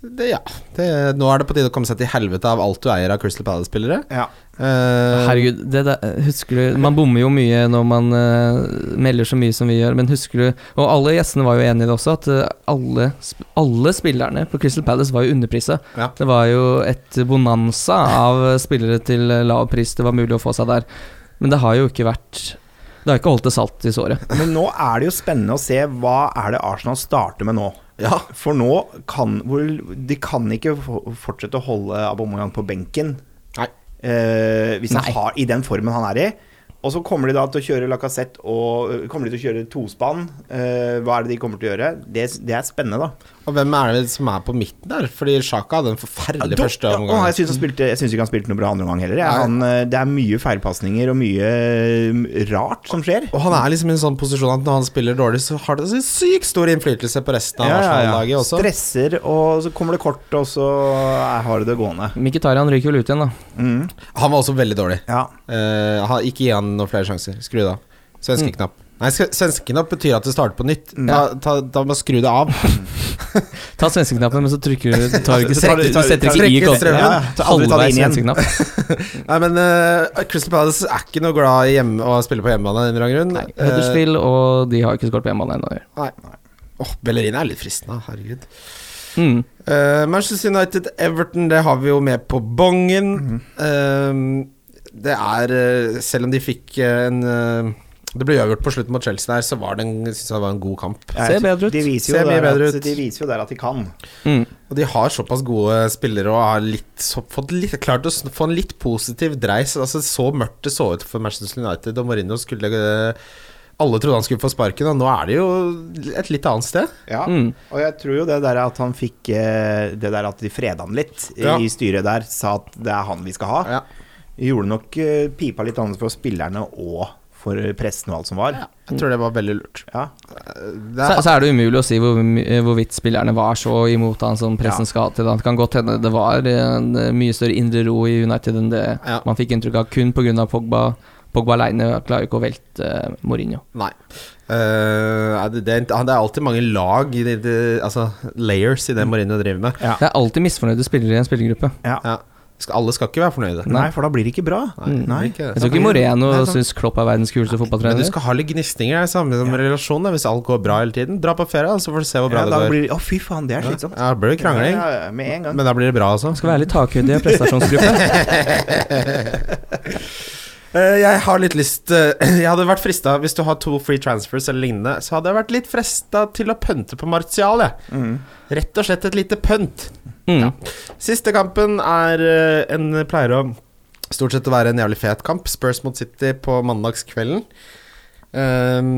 [SPEAKER 3] Det, ja. Det, nå er det på tide å komme seg til helvete av alt du eier av Crystal Palace-spillere.
[SPEAKER 5] Ja.
[SPEAKER 3] Eh,
[SPEAKER 4] Herregud, det der, husker du Man bommer jo mye når man eh, melder så mye som vi gjør, men husker du Og alle gjestene var jo enig i det også, at eh, alle, sp- alle spillerne på Crystal Palace var jo underprisa.
[SPEAKER 3] Ja.
[SPEAKER 4] Det var jo et bonanza av eh, spillere til eh, lav pris det var mulig å få seg der. Men det har jo ikke vært Det har ikke holdt det salt i såret.
[SPEAKER 5] Men nå er det jo spennende å se hva er det Arsenal starter med nå.
[SPEAKER 3] Ja.
[SPEAKER 5] For nå kan hvor, De kan ikke få- fortsette å holde Aubameyang på benken
[SPEAKER 3] Nei.
[SPEAKER 5] eh, hvis
[SPEAKER 4] Nei.
[SPEAKER 5] han har, i den formen han er i. Og så kommer de da til å kjøre Lacassette og eh, kommer de til å kjøre tospann. Eh, hva er det de kommer til å gjøre? Det, det er spennende, da.
[SPEAKER 3] Og hvem er det som er på midten der? Fordi Sjaka hadde en forferdelig
[SPEAKER 5] Da-
[SPEAKER 3] første
[SPEAKER 5] ja,
[SPEAKER 3] omgang.
[SPEAKER 5] å, jeg syns han spilte- jeg syns ikke han spilte noe bra andre omgang heller. jeg.
[SPEAKER 3] Nei.
[SPEAKER 5] Han, eh, det er mye feilpasninger og mye eh, rart som skjer.
[SPEAKER 3] Og han er liksom i en sånn posisjon at når han spiller dårlig, så har det så sykt stor innflytelse på resten av
[SPEAKER 5] Ja, ja, ja.
[SPEAKER 3] Arsenal-laget også.
[SPEAKER 5] Stresser, og så kommer det kort, og så er- har det det gående.
[SPEAKER 4] Mkhitaryan ryker vel ut igjen, da.
[SPEAKER 5] Mm.
[SPEAKER 3] Han var også veldig dårlig.
[SPEAKER 5] Ja.
[SPEAKER 3] Eh, ha, ikke gi han noen flere sjanser. Skru det av. Svenskeknapp. Nei, sk- svenskeknapp betyr at det starter på nytt. Da, ta, da må skru det av.
[SPEAKER 4] Ta svenskeknappen, men så trykker du tar du ikke,
[SPEAKER 5] Trekk-
[SPEAKER 4] du setter ikke i
[SPEAKER 3] trekk-
[SPEAKER 4] kontrollen.
[SPEAKER 5] Ja, ja. Så aldri ta det
[SPEAKER 4] Halvveis
[SPEAKER 5] inn igjen.
[SPEAKER 4] svenskeknapp.
[SPEAKER 3] Nei, men eh, Crystal Palace er ikke noe glad i hjemme, å spille på hjemmebane. av en eller annen grunn. Eh,
[SPEAKER 4] Huddersfield, og de har ikke skåret på hjemmebane ennå.
[SPEAKER 3] Eh, åh, Bellerina er litt fristende, herregud.
[SPEAKER 4] Mm.
[SPEAKER 3] Eh, Manchester United, Everton, det har vi jo med på bongen. Eh, det er eh, Selv om de fikk eh, en eh, Det ble uavgjort på slutten mot Chelsea der, så var det en, synes jeg det var en god kamp.
[SPEAKER 4] Ser bedre ut.
[SPEAKER 5] De viser,
[SPEAKER 3] Ser
[SPEAKER 5] jo
[SPEAKER 3] mye
[SPEAKER 5] der
[SPEAKER 3] bedre
[SPEAKER 5] at,
[SPEAKER 3] ut.
[SPEAKER 5] de viser jo der at de kan.
[SPEAKER 4] Mm.
[SPEAKER 3] Og de har såpass gode spillere og har litt, så, fått litt, klart å sn- få en litt positiv dreis. Altså Så mørkt det så ut for Manchester United, og Mourinho skulle eh, Alle trodde han skulle få sparken, og nå er det jo et litt annet sted.
[SPEAKER 5] Ja.
[SPEAKER 4] Mm.
[SPEAKER 5] Og jeg tror jo det der at han fikk eh, Det der at de freda han litt i-
[SPEAKER 3] Ja.
[SPEAKER 5] i styret der, sa at det er han vi skal ha, gjorde nok eh, pipa litt annerledes for spillerne og for pressen og alt som var.
[SPEAKER 3] Jeg tror det var veldig lurt.
[SPEAKER 5] Ja.
[SPEAKER 3] Det
[SPEAKER 4] Så,
[SPEAKER 3] er, altså,
[SPEAKER 4] så er det umulig å si hvor, my- eh, hvorvidt spillerne var så imot han som pressen skal ha til. da. Det kan godt hende det var en eh, mye større indre ro i United enn det
[SPEAKER 3] Ja.
[SPEAKER 4] man fikk inntrykk av, kun pga. Pogba. Pogba aleine klarer jo ikke å velte eh, Mourinho.
[SPEAKER 3] nei. Eh, er det, det, er, det er alltid mange lag i det,
[SPEAKER 4] Mm.
[SPEAKER 3] det, Altså layers i det Mourinho driver med.
[SPEAKER 5] Ja.
[SPEAKER 4] Det er alltid misfornøyde spillere i en spillergruppe.
[SPEAKER 5] Ja.
[SPEAKER 3] Ja. Skal, alle skal ikke være fornøyde.
[SPEAKER 5] Mm. Nei, for da blir det ikke bra.
[SPEAKER 3] Nei,
[SPEAKER 5] Nei.
[SPEAKER 3] det blir ikke
[SPEAKER 4] Mm. Jeg
[SPEAKER 3] det.
[SPEAKER 4] tror ikke Moreno
[SPEAKER 5] Nei, sånn-
[SPEAKER 4] syns Klopp er verdens kuleste
[SPEAKER 3] Men du
[SPEAKER 4] fotballtrener.
[SPEAKER 3] skal ha litt gnisninger. Det er samme som relasjoner. Hvis alt går bra hele tiden, dra på ferie, da, så får du se hvor bra
[SPEAKER 5] Ja, da
[SPEAKER 3] det går.
[SPEAKER 5] blir det Å, fy faen, det er slitsomt.
[SPEAKER 3] Ja, da blir det krangling.
[SPEAKER 5] Ja, ja, med en gang.
[SPEAKER 3] Men da blir det bra altså. også.
[SPEAKER 4] Skal være litt takhøyde i en prestasjonsgruppe.
[SPEAKER 3] Eh, jeg har litt lyst eh, Jeg hadde vært frista Hvis du har to free transfers eller lignende, så hadde jeg vært litt frista til å pønte på Martial, jeg.
[SPEAKER 5] Mm.
[SPEAKER 3] Rett og slett et lite pønt.
[SPEAKER 4] Mm.
[SPEAKER 3] Siste kampen er eh, en pleier å stort sett å være en jævlig fet kamp. Spurs mot City på mandagskvelden. Ehm,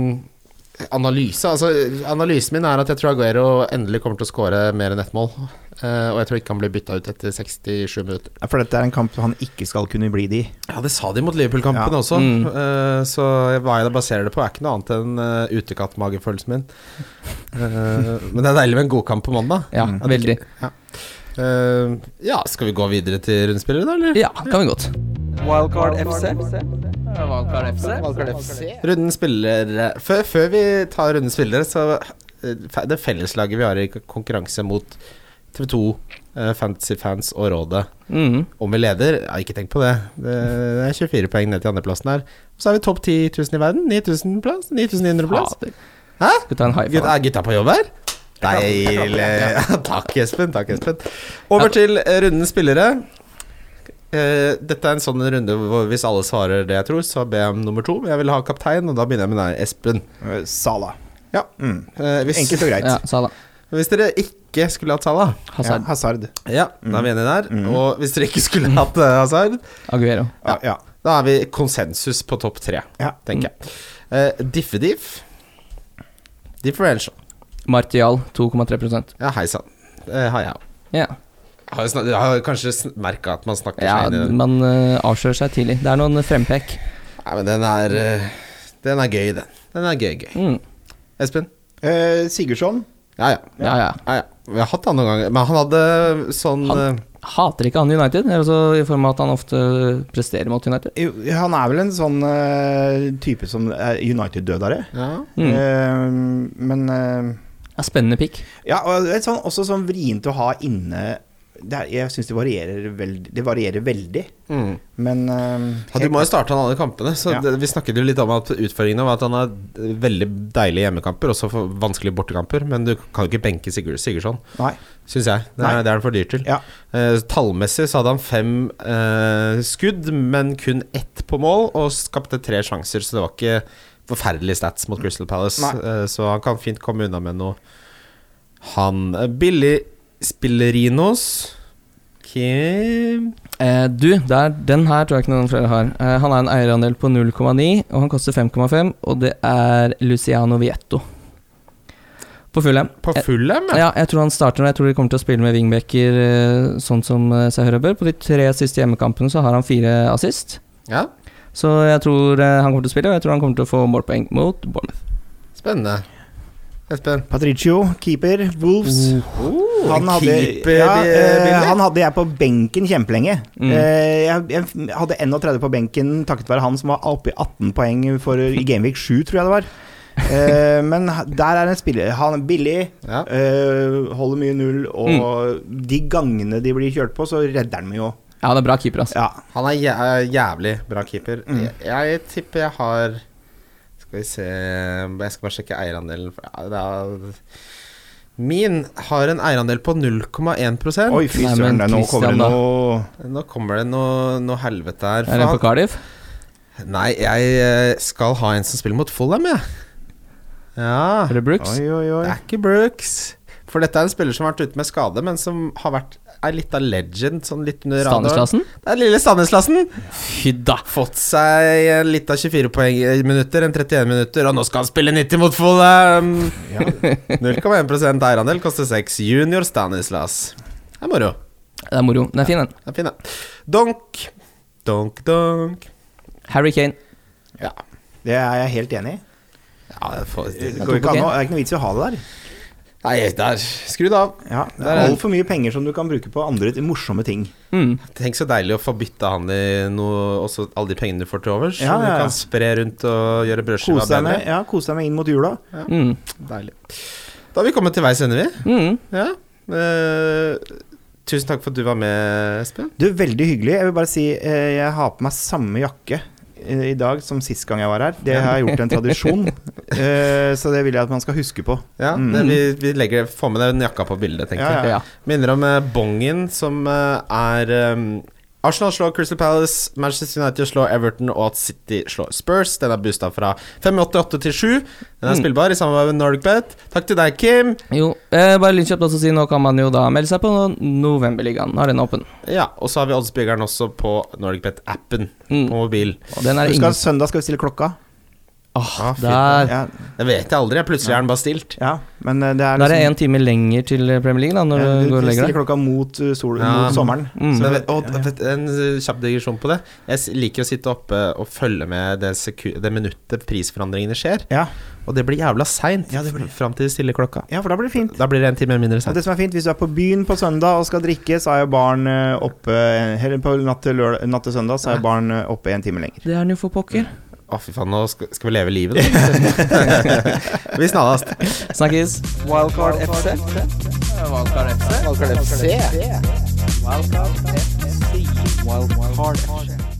[SPEAKER 3] analyse Altså, analysen min er at jeg tror Aguero endelig kommer til å skåre mer enn ett mål. Eh, og jeg tror ikke han blir bytta ut etter 67 minutter.
[SPEAKER 5] Ja, For dette er en kamp han ikke skal kunne bli det i.
[SPEAKER 3] Ja, det sa de mot Liverpool-kampen
[SPEAKER 5] Ja.
[SPEAKER 3] også.
[SPEAKER 4] Mm.
[SPEAKER 3] Eh, så hva jeg baserer det på, er ikke noe annet enn uh, utekattmagefølelsen min. Eh, men det er deilig med en godkamp på mandag.
[SPEAKER 4] Ja,
[SPEAKER 5] Mm.
[SPEAKER 4] veldig.
[SPEAKER 3] Eh, ja, skal vi gå videre til rundspillere, da, eller?
[SPEAKER 4] Ja, kan vi godt.
[SPEAKER 1] Wildcard FC.
[SPEAKER 2] Valkar FC.
[SPEAKER 3] Runden spillere før, før vi tar runden spillere, så eh, fe- Det felleslaget vi har i k- konkurranse mot TV2, eh, Fantasy Fans og Rådet
[SPEAKER 4] Mm.
[SPEAKER 3] om vi leder ja, Ikke tenk på det. Det det er 24 poeng ned til andreplassen her. Så er vi topp 10 000 i verden. 9000 plass. 9900 plass.
[SPEAKER 4] Fader.
[SPEAKER 3] Hæ?
[SPEAKER 4] Skal vi ta en high
[SPEAKER 3] Gutta,
[SPEAKER 4] five?
[SPEAKER 3] er gutta på jobb her? Deilig. Takk, Espen. Takk, Espen. Over til eh, rundens spillere. Eh, dette er en sånn runde hvor hvis alle svarer det jeg tror, så ber jeg om nummer to. Men Jeg vil ha kaptein, og da begynner jeg med deg, Espen.
[SPEAKER 5] Eh, Sala.
[SPEAKER 3] Ja.
[SPEAKER 5] Mm.
[SPEAKER 3] Eh, hvis,
[SPEAKER 5] Enkelt og greit.
[SPEAKER 4] Ja, Salah.
[SPEAKER 3] hvis dere ikke skulle hatt Salah
[SPEAKER 5] Ja,
[SPEAKER 4] Hazard.
[SPEAKER 5] Hazard.
[SPEAKER 3] Ja, da er vi enige der.
[SPEAKER 5] Mm.
[SPEAKER 3] Og hvis dere ikke skulle hatt eh, Hazard,
[SPEAKER 4] Aguero.
[SPEAKER 5] Ja. ja.
[SPEAKER 3] da er vi konsensus på topp tre,
[SPEAKER 5] Ja.
[SPEAKER 3] tenker jeg. Eh, Diffediff. Differential.
[SPEAKER 4] Martial 2,3
[SPEAKER 3] Ja, hei sann. Det har jeg òg.
[SPEAKER 4] Ja,
[SPEAKER 3] Har, jo snak- jeg har kanskje merka at man snakker
[SPEAKER 4] ja
[SPEAKER 3] seg inn i den.
[SPEAKER 4] man eh, avslører seg tidlig. Det er noen frempek.
[SPEAKER 3] Nei, men den er eh, Den er gøy, den. Den er gøy, gøy.
[SPEAKER 4] Mm.
[SPEAKER 3] Espen?
[SPEAKER 5] Eh, Sigurdsson.
[SPEAKER 3] Ja, ja.
[SPEAKER 4] Ja, ja.
[SPEAKER 3] ja, ja. Vi har hatt han noen ganger, men han hadde sånn
[SPEAKER 4] Han-
[SPEAKER 3] eh,
[SPEAKER 4] Hater ikke han United, altså i form av at han ofte presterer mot United.
[SPEAKER 5] Jo, Han er vel en sånn eh, type som er United-dødere.
[SPEAKER 3] ja.
[SPEAKER 4] Mm.
[SPEAKER 5] Eh, men eh,
[SPEAKER 4] Ja, spennende pick.
[SPEAKER 5] Ja, og det er sånn, også sånn vrient å ha inne det er, Jeg syns det varierer veldig. Det varierer veldig.
[SPEAKER 3] mm.
[SPEAKER 5] Men eh,
[SPEAKER 3] Ja, du
[SPEAKER 5] helt-
[SPEAKER 3] må jo starte han alle kampene. Så
[SPEAKER 5] Ja.
[SPEAKER 3] det, Vi snakket jo litt om at utfordringen var at han har eh, veldig deilige hjemmekamper, også for vanskelige bortekamper, men du kan jo ikke benke Sigurd Sigurdsson,
[SPEAKER 5] Nei.
[SPEAKER 3] syns jeg. Det
[SPEAKER 5] Nei.
[SPEAKER 3] er, det er han for dyr til.
[SPEAKER 5] Ja.
[SPEAKER 3] Eh, tallmessig så hadde han fem eh, skudd, men kun ett på mål, og skapte tre sjanser, så det var ikke forferdelige stats mot Crystal Palace.
[SPEAKER 5] Nei.
[SPEAKER 3] Eh, så han kan fint komme unna med noe. Han eh, Billy Spillerinos Kim
[SPEAKER 4] Eh, du, der, den her tror jeg ikke noen flere har. Eh, han er en eierandel på 0,9, og han koster 5,5, og det er Luciano Vietto. På Fulham.
[SPEAKER 3] På
[SPEAKER 4] Eh,
[SPEAKER 3] Fulham, ja.
[SPEAKER 4] Ja, jeg tror han starter nå. Jeg tror de kommer til å spille med wingbacker eh, sånn som eh, seg hør og bør. På de tre siste hjemmekampene så har han fire assist,
[SPEAKER 3] ja.
[SPEAKER 4] så jeg tror eh, han kommer til å spille, og jeg tror han kommer til å få målpoeng mot Bournemouth.
[SPEAKER 3] Spennende. Espen.
[SPEAKER 5] Patricio, keeper, Wolves. han, hadde,
[SPEAKER 3] Oh, keeper,
[SPEAKER 5] ja,
[SPEAKER 3] eh,
[SPEAKER 5] eh,
[SPEAKER 3] Billy.
[SPEAKER 5] han hadde jeg på benken kjempelenge.
[SPEAKER 4] Mm.
[SPEAKER 5] Eh, jeg, jeg hadde 31 på benken takket være han som var oppe i 18 poeng for, i Gameweek 7, tror jeg det var. Eh, men h- der er en spiller. Han er billig,
[SPEAKER 3] Ja.
[SPEAKER 5] eh, holder mye null, og de gangene de blir kjørt på, så redder han meg jo.
[SPEAKER 4] Ja, han er bra keeper, altså.
[SPEAKER 5] Ja.
[SPEAKER 3] Han er jæ jævlig bra keeper.
[SPEAKER 5] Mm.
[SPEAKER 3] Jeg, jeg tipper jeg har Skal vi se Jeg skal bare sjekke eierandelen. for- ja, Det er, min har en eierandel på 0,1
[SPEAKER 5] Oi, fy
[SPEAKER 4] Nei,
[SPEAKER 5] søren,
[SPEAKER 4] men
[SPEAKER 5] det- nå kommer
[SPEAKER 4] Christian,
[SPEAKER 5] det
[SPEAKER 4] da.
[SPEAKER 5] noe
[SPEAKER 3] Nå kommer det noe, noe helvete her.
[SPEAKER 4] Er det på
[SPEAKER 3] faen.
[SPEAKER 4] Cardiff?
[SPEAKER 3] Nei, jeg eh, skal ha en som spiller mot Fulham, jeg. Ja.
[SPEAKER 4] Er det Brooks?
[SPEAKER 5] Oi, oi, oi.
[SPEAKER 3] Det er ikke Brooks. For dette er en spiller som har vært ute med skade, men som har vært ei lita legend. Sånn litt under radaren.
[SPEAKER 4] Stanislavsen?
[SPEAKER 3] Det er lille Stanislassen.
[SPEAKER 4] Fy da!
[SPEAKER 3] Fått seg en litt av 24 poeng eh, minutter, en 31 minutter, og nå skal han spille 90 mot Fulham! 0,1 eierandel, koster 6. Junior Stanislas. Det er moro.
[SPEAKER 4] Det er moro. Den er fin, den.
[SPEAKER 3] Det er fin, det. Donk. Donk, donk.
[SPEAKER 4] Harry Kane.
[SPEAKER 3] Ja.
[SPEAKER 5] Det er jeg helt enig i.
[SPEAKER 3] ja det får-
[SPEAKER 5] Det går ikke an å- det er ikke noe vits i å ha det der.
[SPEAKER 3] Nei, der. Skru det av.
[SPEAKER 5] Ja, det
[SPEAKER 3] Der er-
[SPEAKER 5] er altfor mye penger som du kan bruke på andre morsomme ting.
[SPEAKER 4] Mm.
[SPEAKER 3] Tenk så deilig å få bytta han i noe Også alle de pengene du får til overs.
[SPEAKER 5] Ja,
[SPEAKER 3] som
[SPEAKER 5] ja, ja.
[SPEAKER 3] Du kan spre rundt og gjøre brødskiva
[SPEAKER 5] Kose deg med,
[SPEAKER 3] bedre.
[SPEAKER 5] ja, kose deg med inn mot jula.
[SPEAKER 4] Mm.
[SPEAKER 3] Deilig. Da har vi kommet til veis ende, vi.
[SPEAKER 4] Mm.
[SPEAKER 3] Ja. Eh, Tusen takk for at du var med, Espen.
[SPEAKER 5] Du, veldig hyggelig. Jeg vil bare si eh, jeg har på meg samme jakke eh, i dag som sist gang jeg var her. Det har jeg gjort til en tradisjon, eh, så det vil jeg at man skal huske på.
[SPEAKER 3] Ja,
[SPEAKER 5] Mm.
[SPEAKER 3] det, vi, vi legger, får med den jakka på bildet, tenker jeg.
[SPEAKER 5] Ja,
[SPEAKER 4] Ja.
[SPEAKER 3] Minner om eh, bongen som eh, er eh, Arsenal slår Crystal Palace, Manchester United slår Everton og at City slår Spurs. Den er boosta fra 5,88 til 7. Den er
[SPEAKER 4] Mm.
[SPEAKER 3] spillbar i samarbeid med NordicBet. Takk til deg, Kim.
[SPEAKER 4] Jo, eh, bare litt kjapt også si nå kan man jo da melde seg på Novemberligaen. Nå er den åpen.
[SPEAKER 3] Ja, Og så har vi oddsbyggeren også på NordicBet-appen
[SPEAKER 4] Mm.
[SPEAKER 3] på mobil.
[SPEAKER 4] Og den er
[SPEAKER 5] Husk
[SPEAKER 4] ingen
[SPEAKER 5] at søndag skal vi stille klokka.
[SPEAKER 3] Ah, fy-
[SPEAKER 4] Der.
[SPEAKER 5] Ja,
[SPEAKER 3] Det vet jeg aldri. Plutselig er den bare stilt.
[SPEAKER 5] ja. Men eh, det er
[SPEAKER 4] Da er det én time lenger til Premier League da, når
[SPEAKER 5] Ja,
[SPEAKER 4] du går og legger
[SPEAKER 5] stiller
[SPEAKER 4] deg.
[SPEAKER 5] klokka mot, uh, sol,
[SPEAKER 3] Ja.
[SPEAKER 5] mot sommeren.
[SPEAKER 4] Mm.
[SPEAKER 3] Men
[SPEAKER 5] Så-
[SPEAKER 3] vet- og, vet, en eh, kjapp digresjon på det. Jeg s- liker å sitte oppe og følge med det, seku- det minuttet prisforandringene skjer.
[SPEAKER 5] Ja.
[SPEAKER 3] Og det blir jævla seint
[SPEAKER 5] Ja, det blir-
[SPEAKER 3] fram til de stiller klokka.
[SPEAKER 5] ja, for da blir det fint.
[SPEAKER 3] Da blir det en time mindre
[SPEAKER 5] Og
[SPEAKER 3] seint.
[SPEAKER 5] det som er fint, Hvis du er på byen på søndag og skal drikke, så er jo barn eh, oppe Eller på natt til, lørdag, natt til søndag så er barn eh, oppe en time lenger.
[SPEAKER 4] Det er den jo for pokker.
[SPEAKER 3] Å, fy faen, nå skal, skal vi leve livet, da. vi snarest.
[SPEAKER 4] Snakkes.
[SPEAKER 1] Wildcard FC.
[SPEAKER 2] Valkar FC.
[SPEAKER 1] Wildcard FC. Wildcard FC.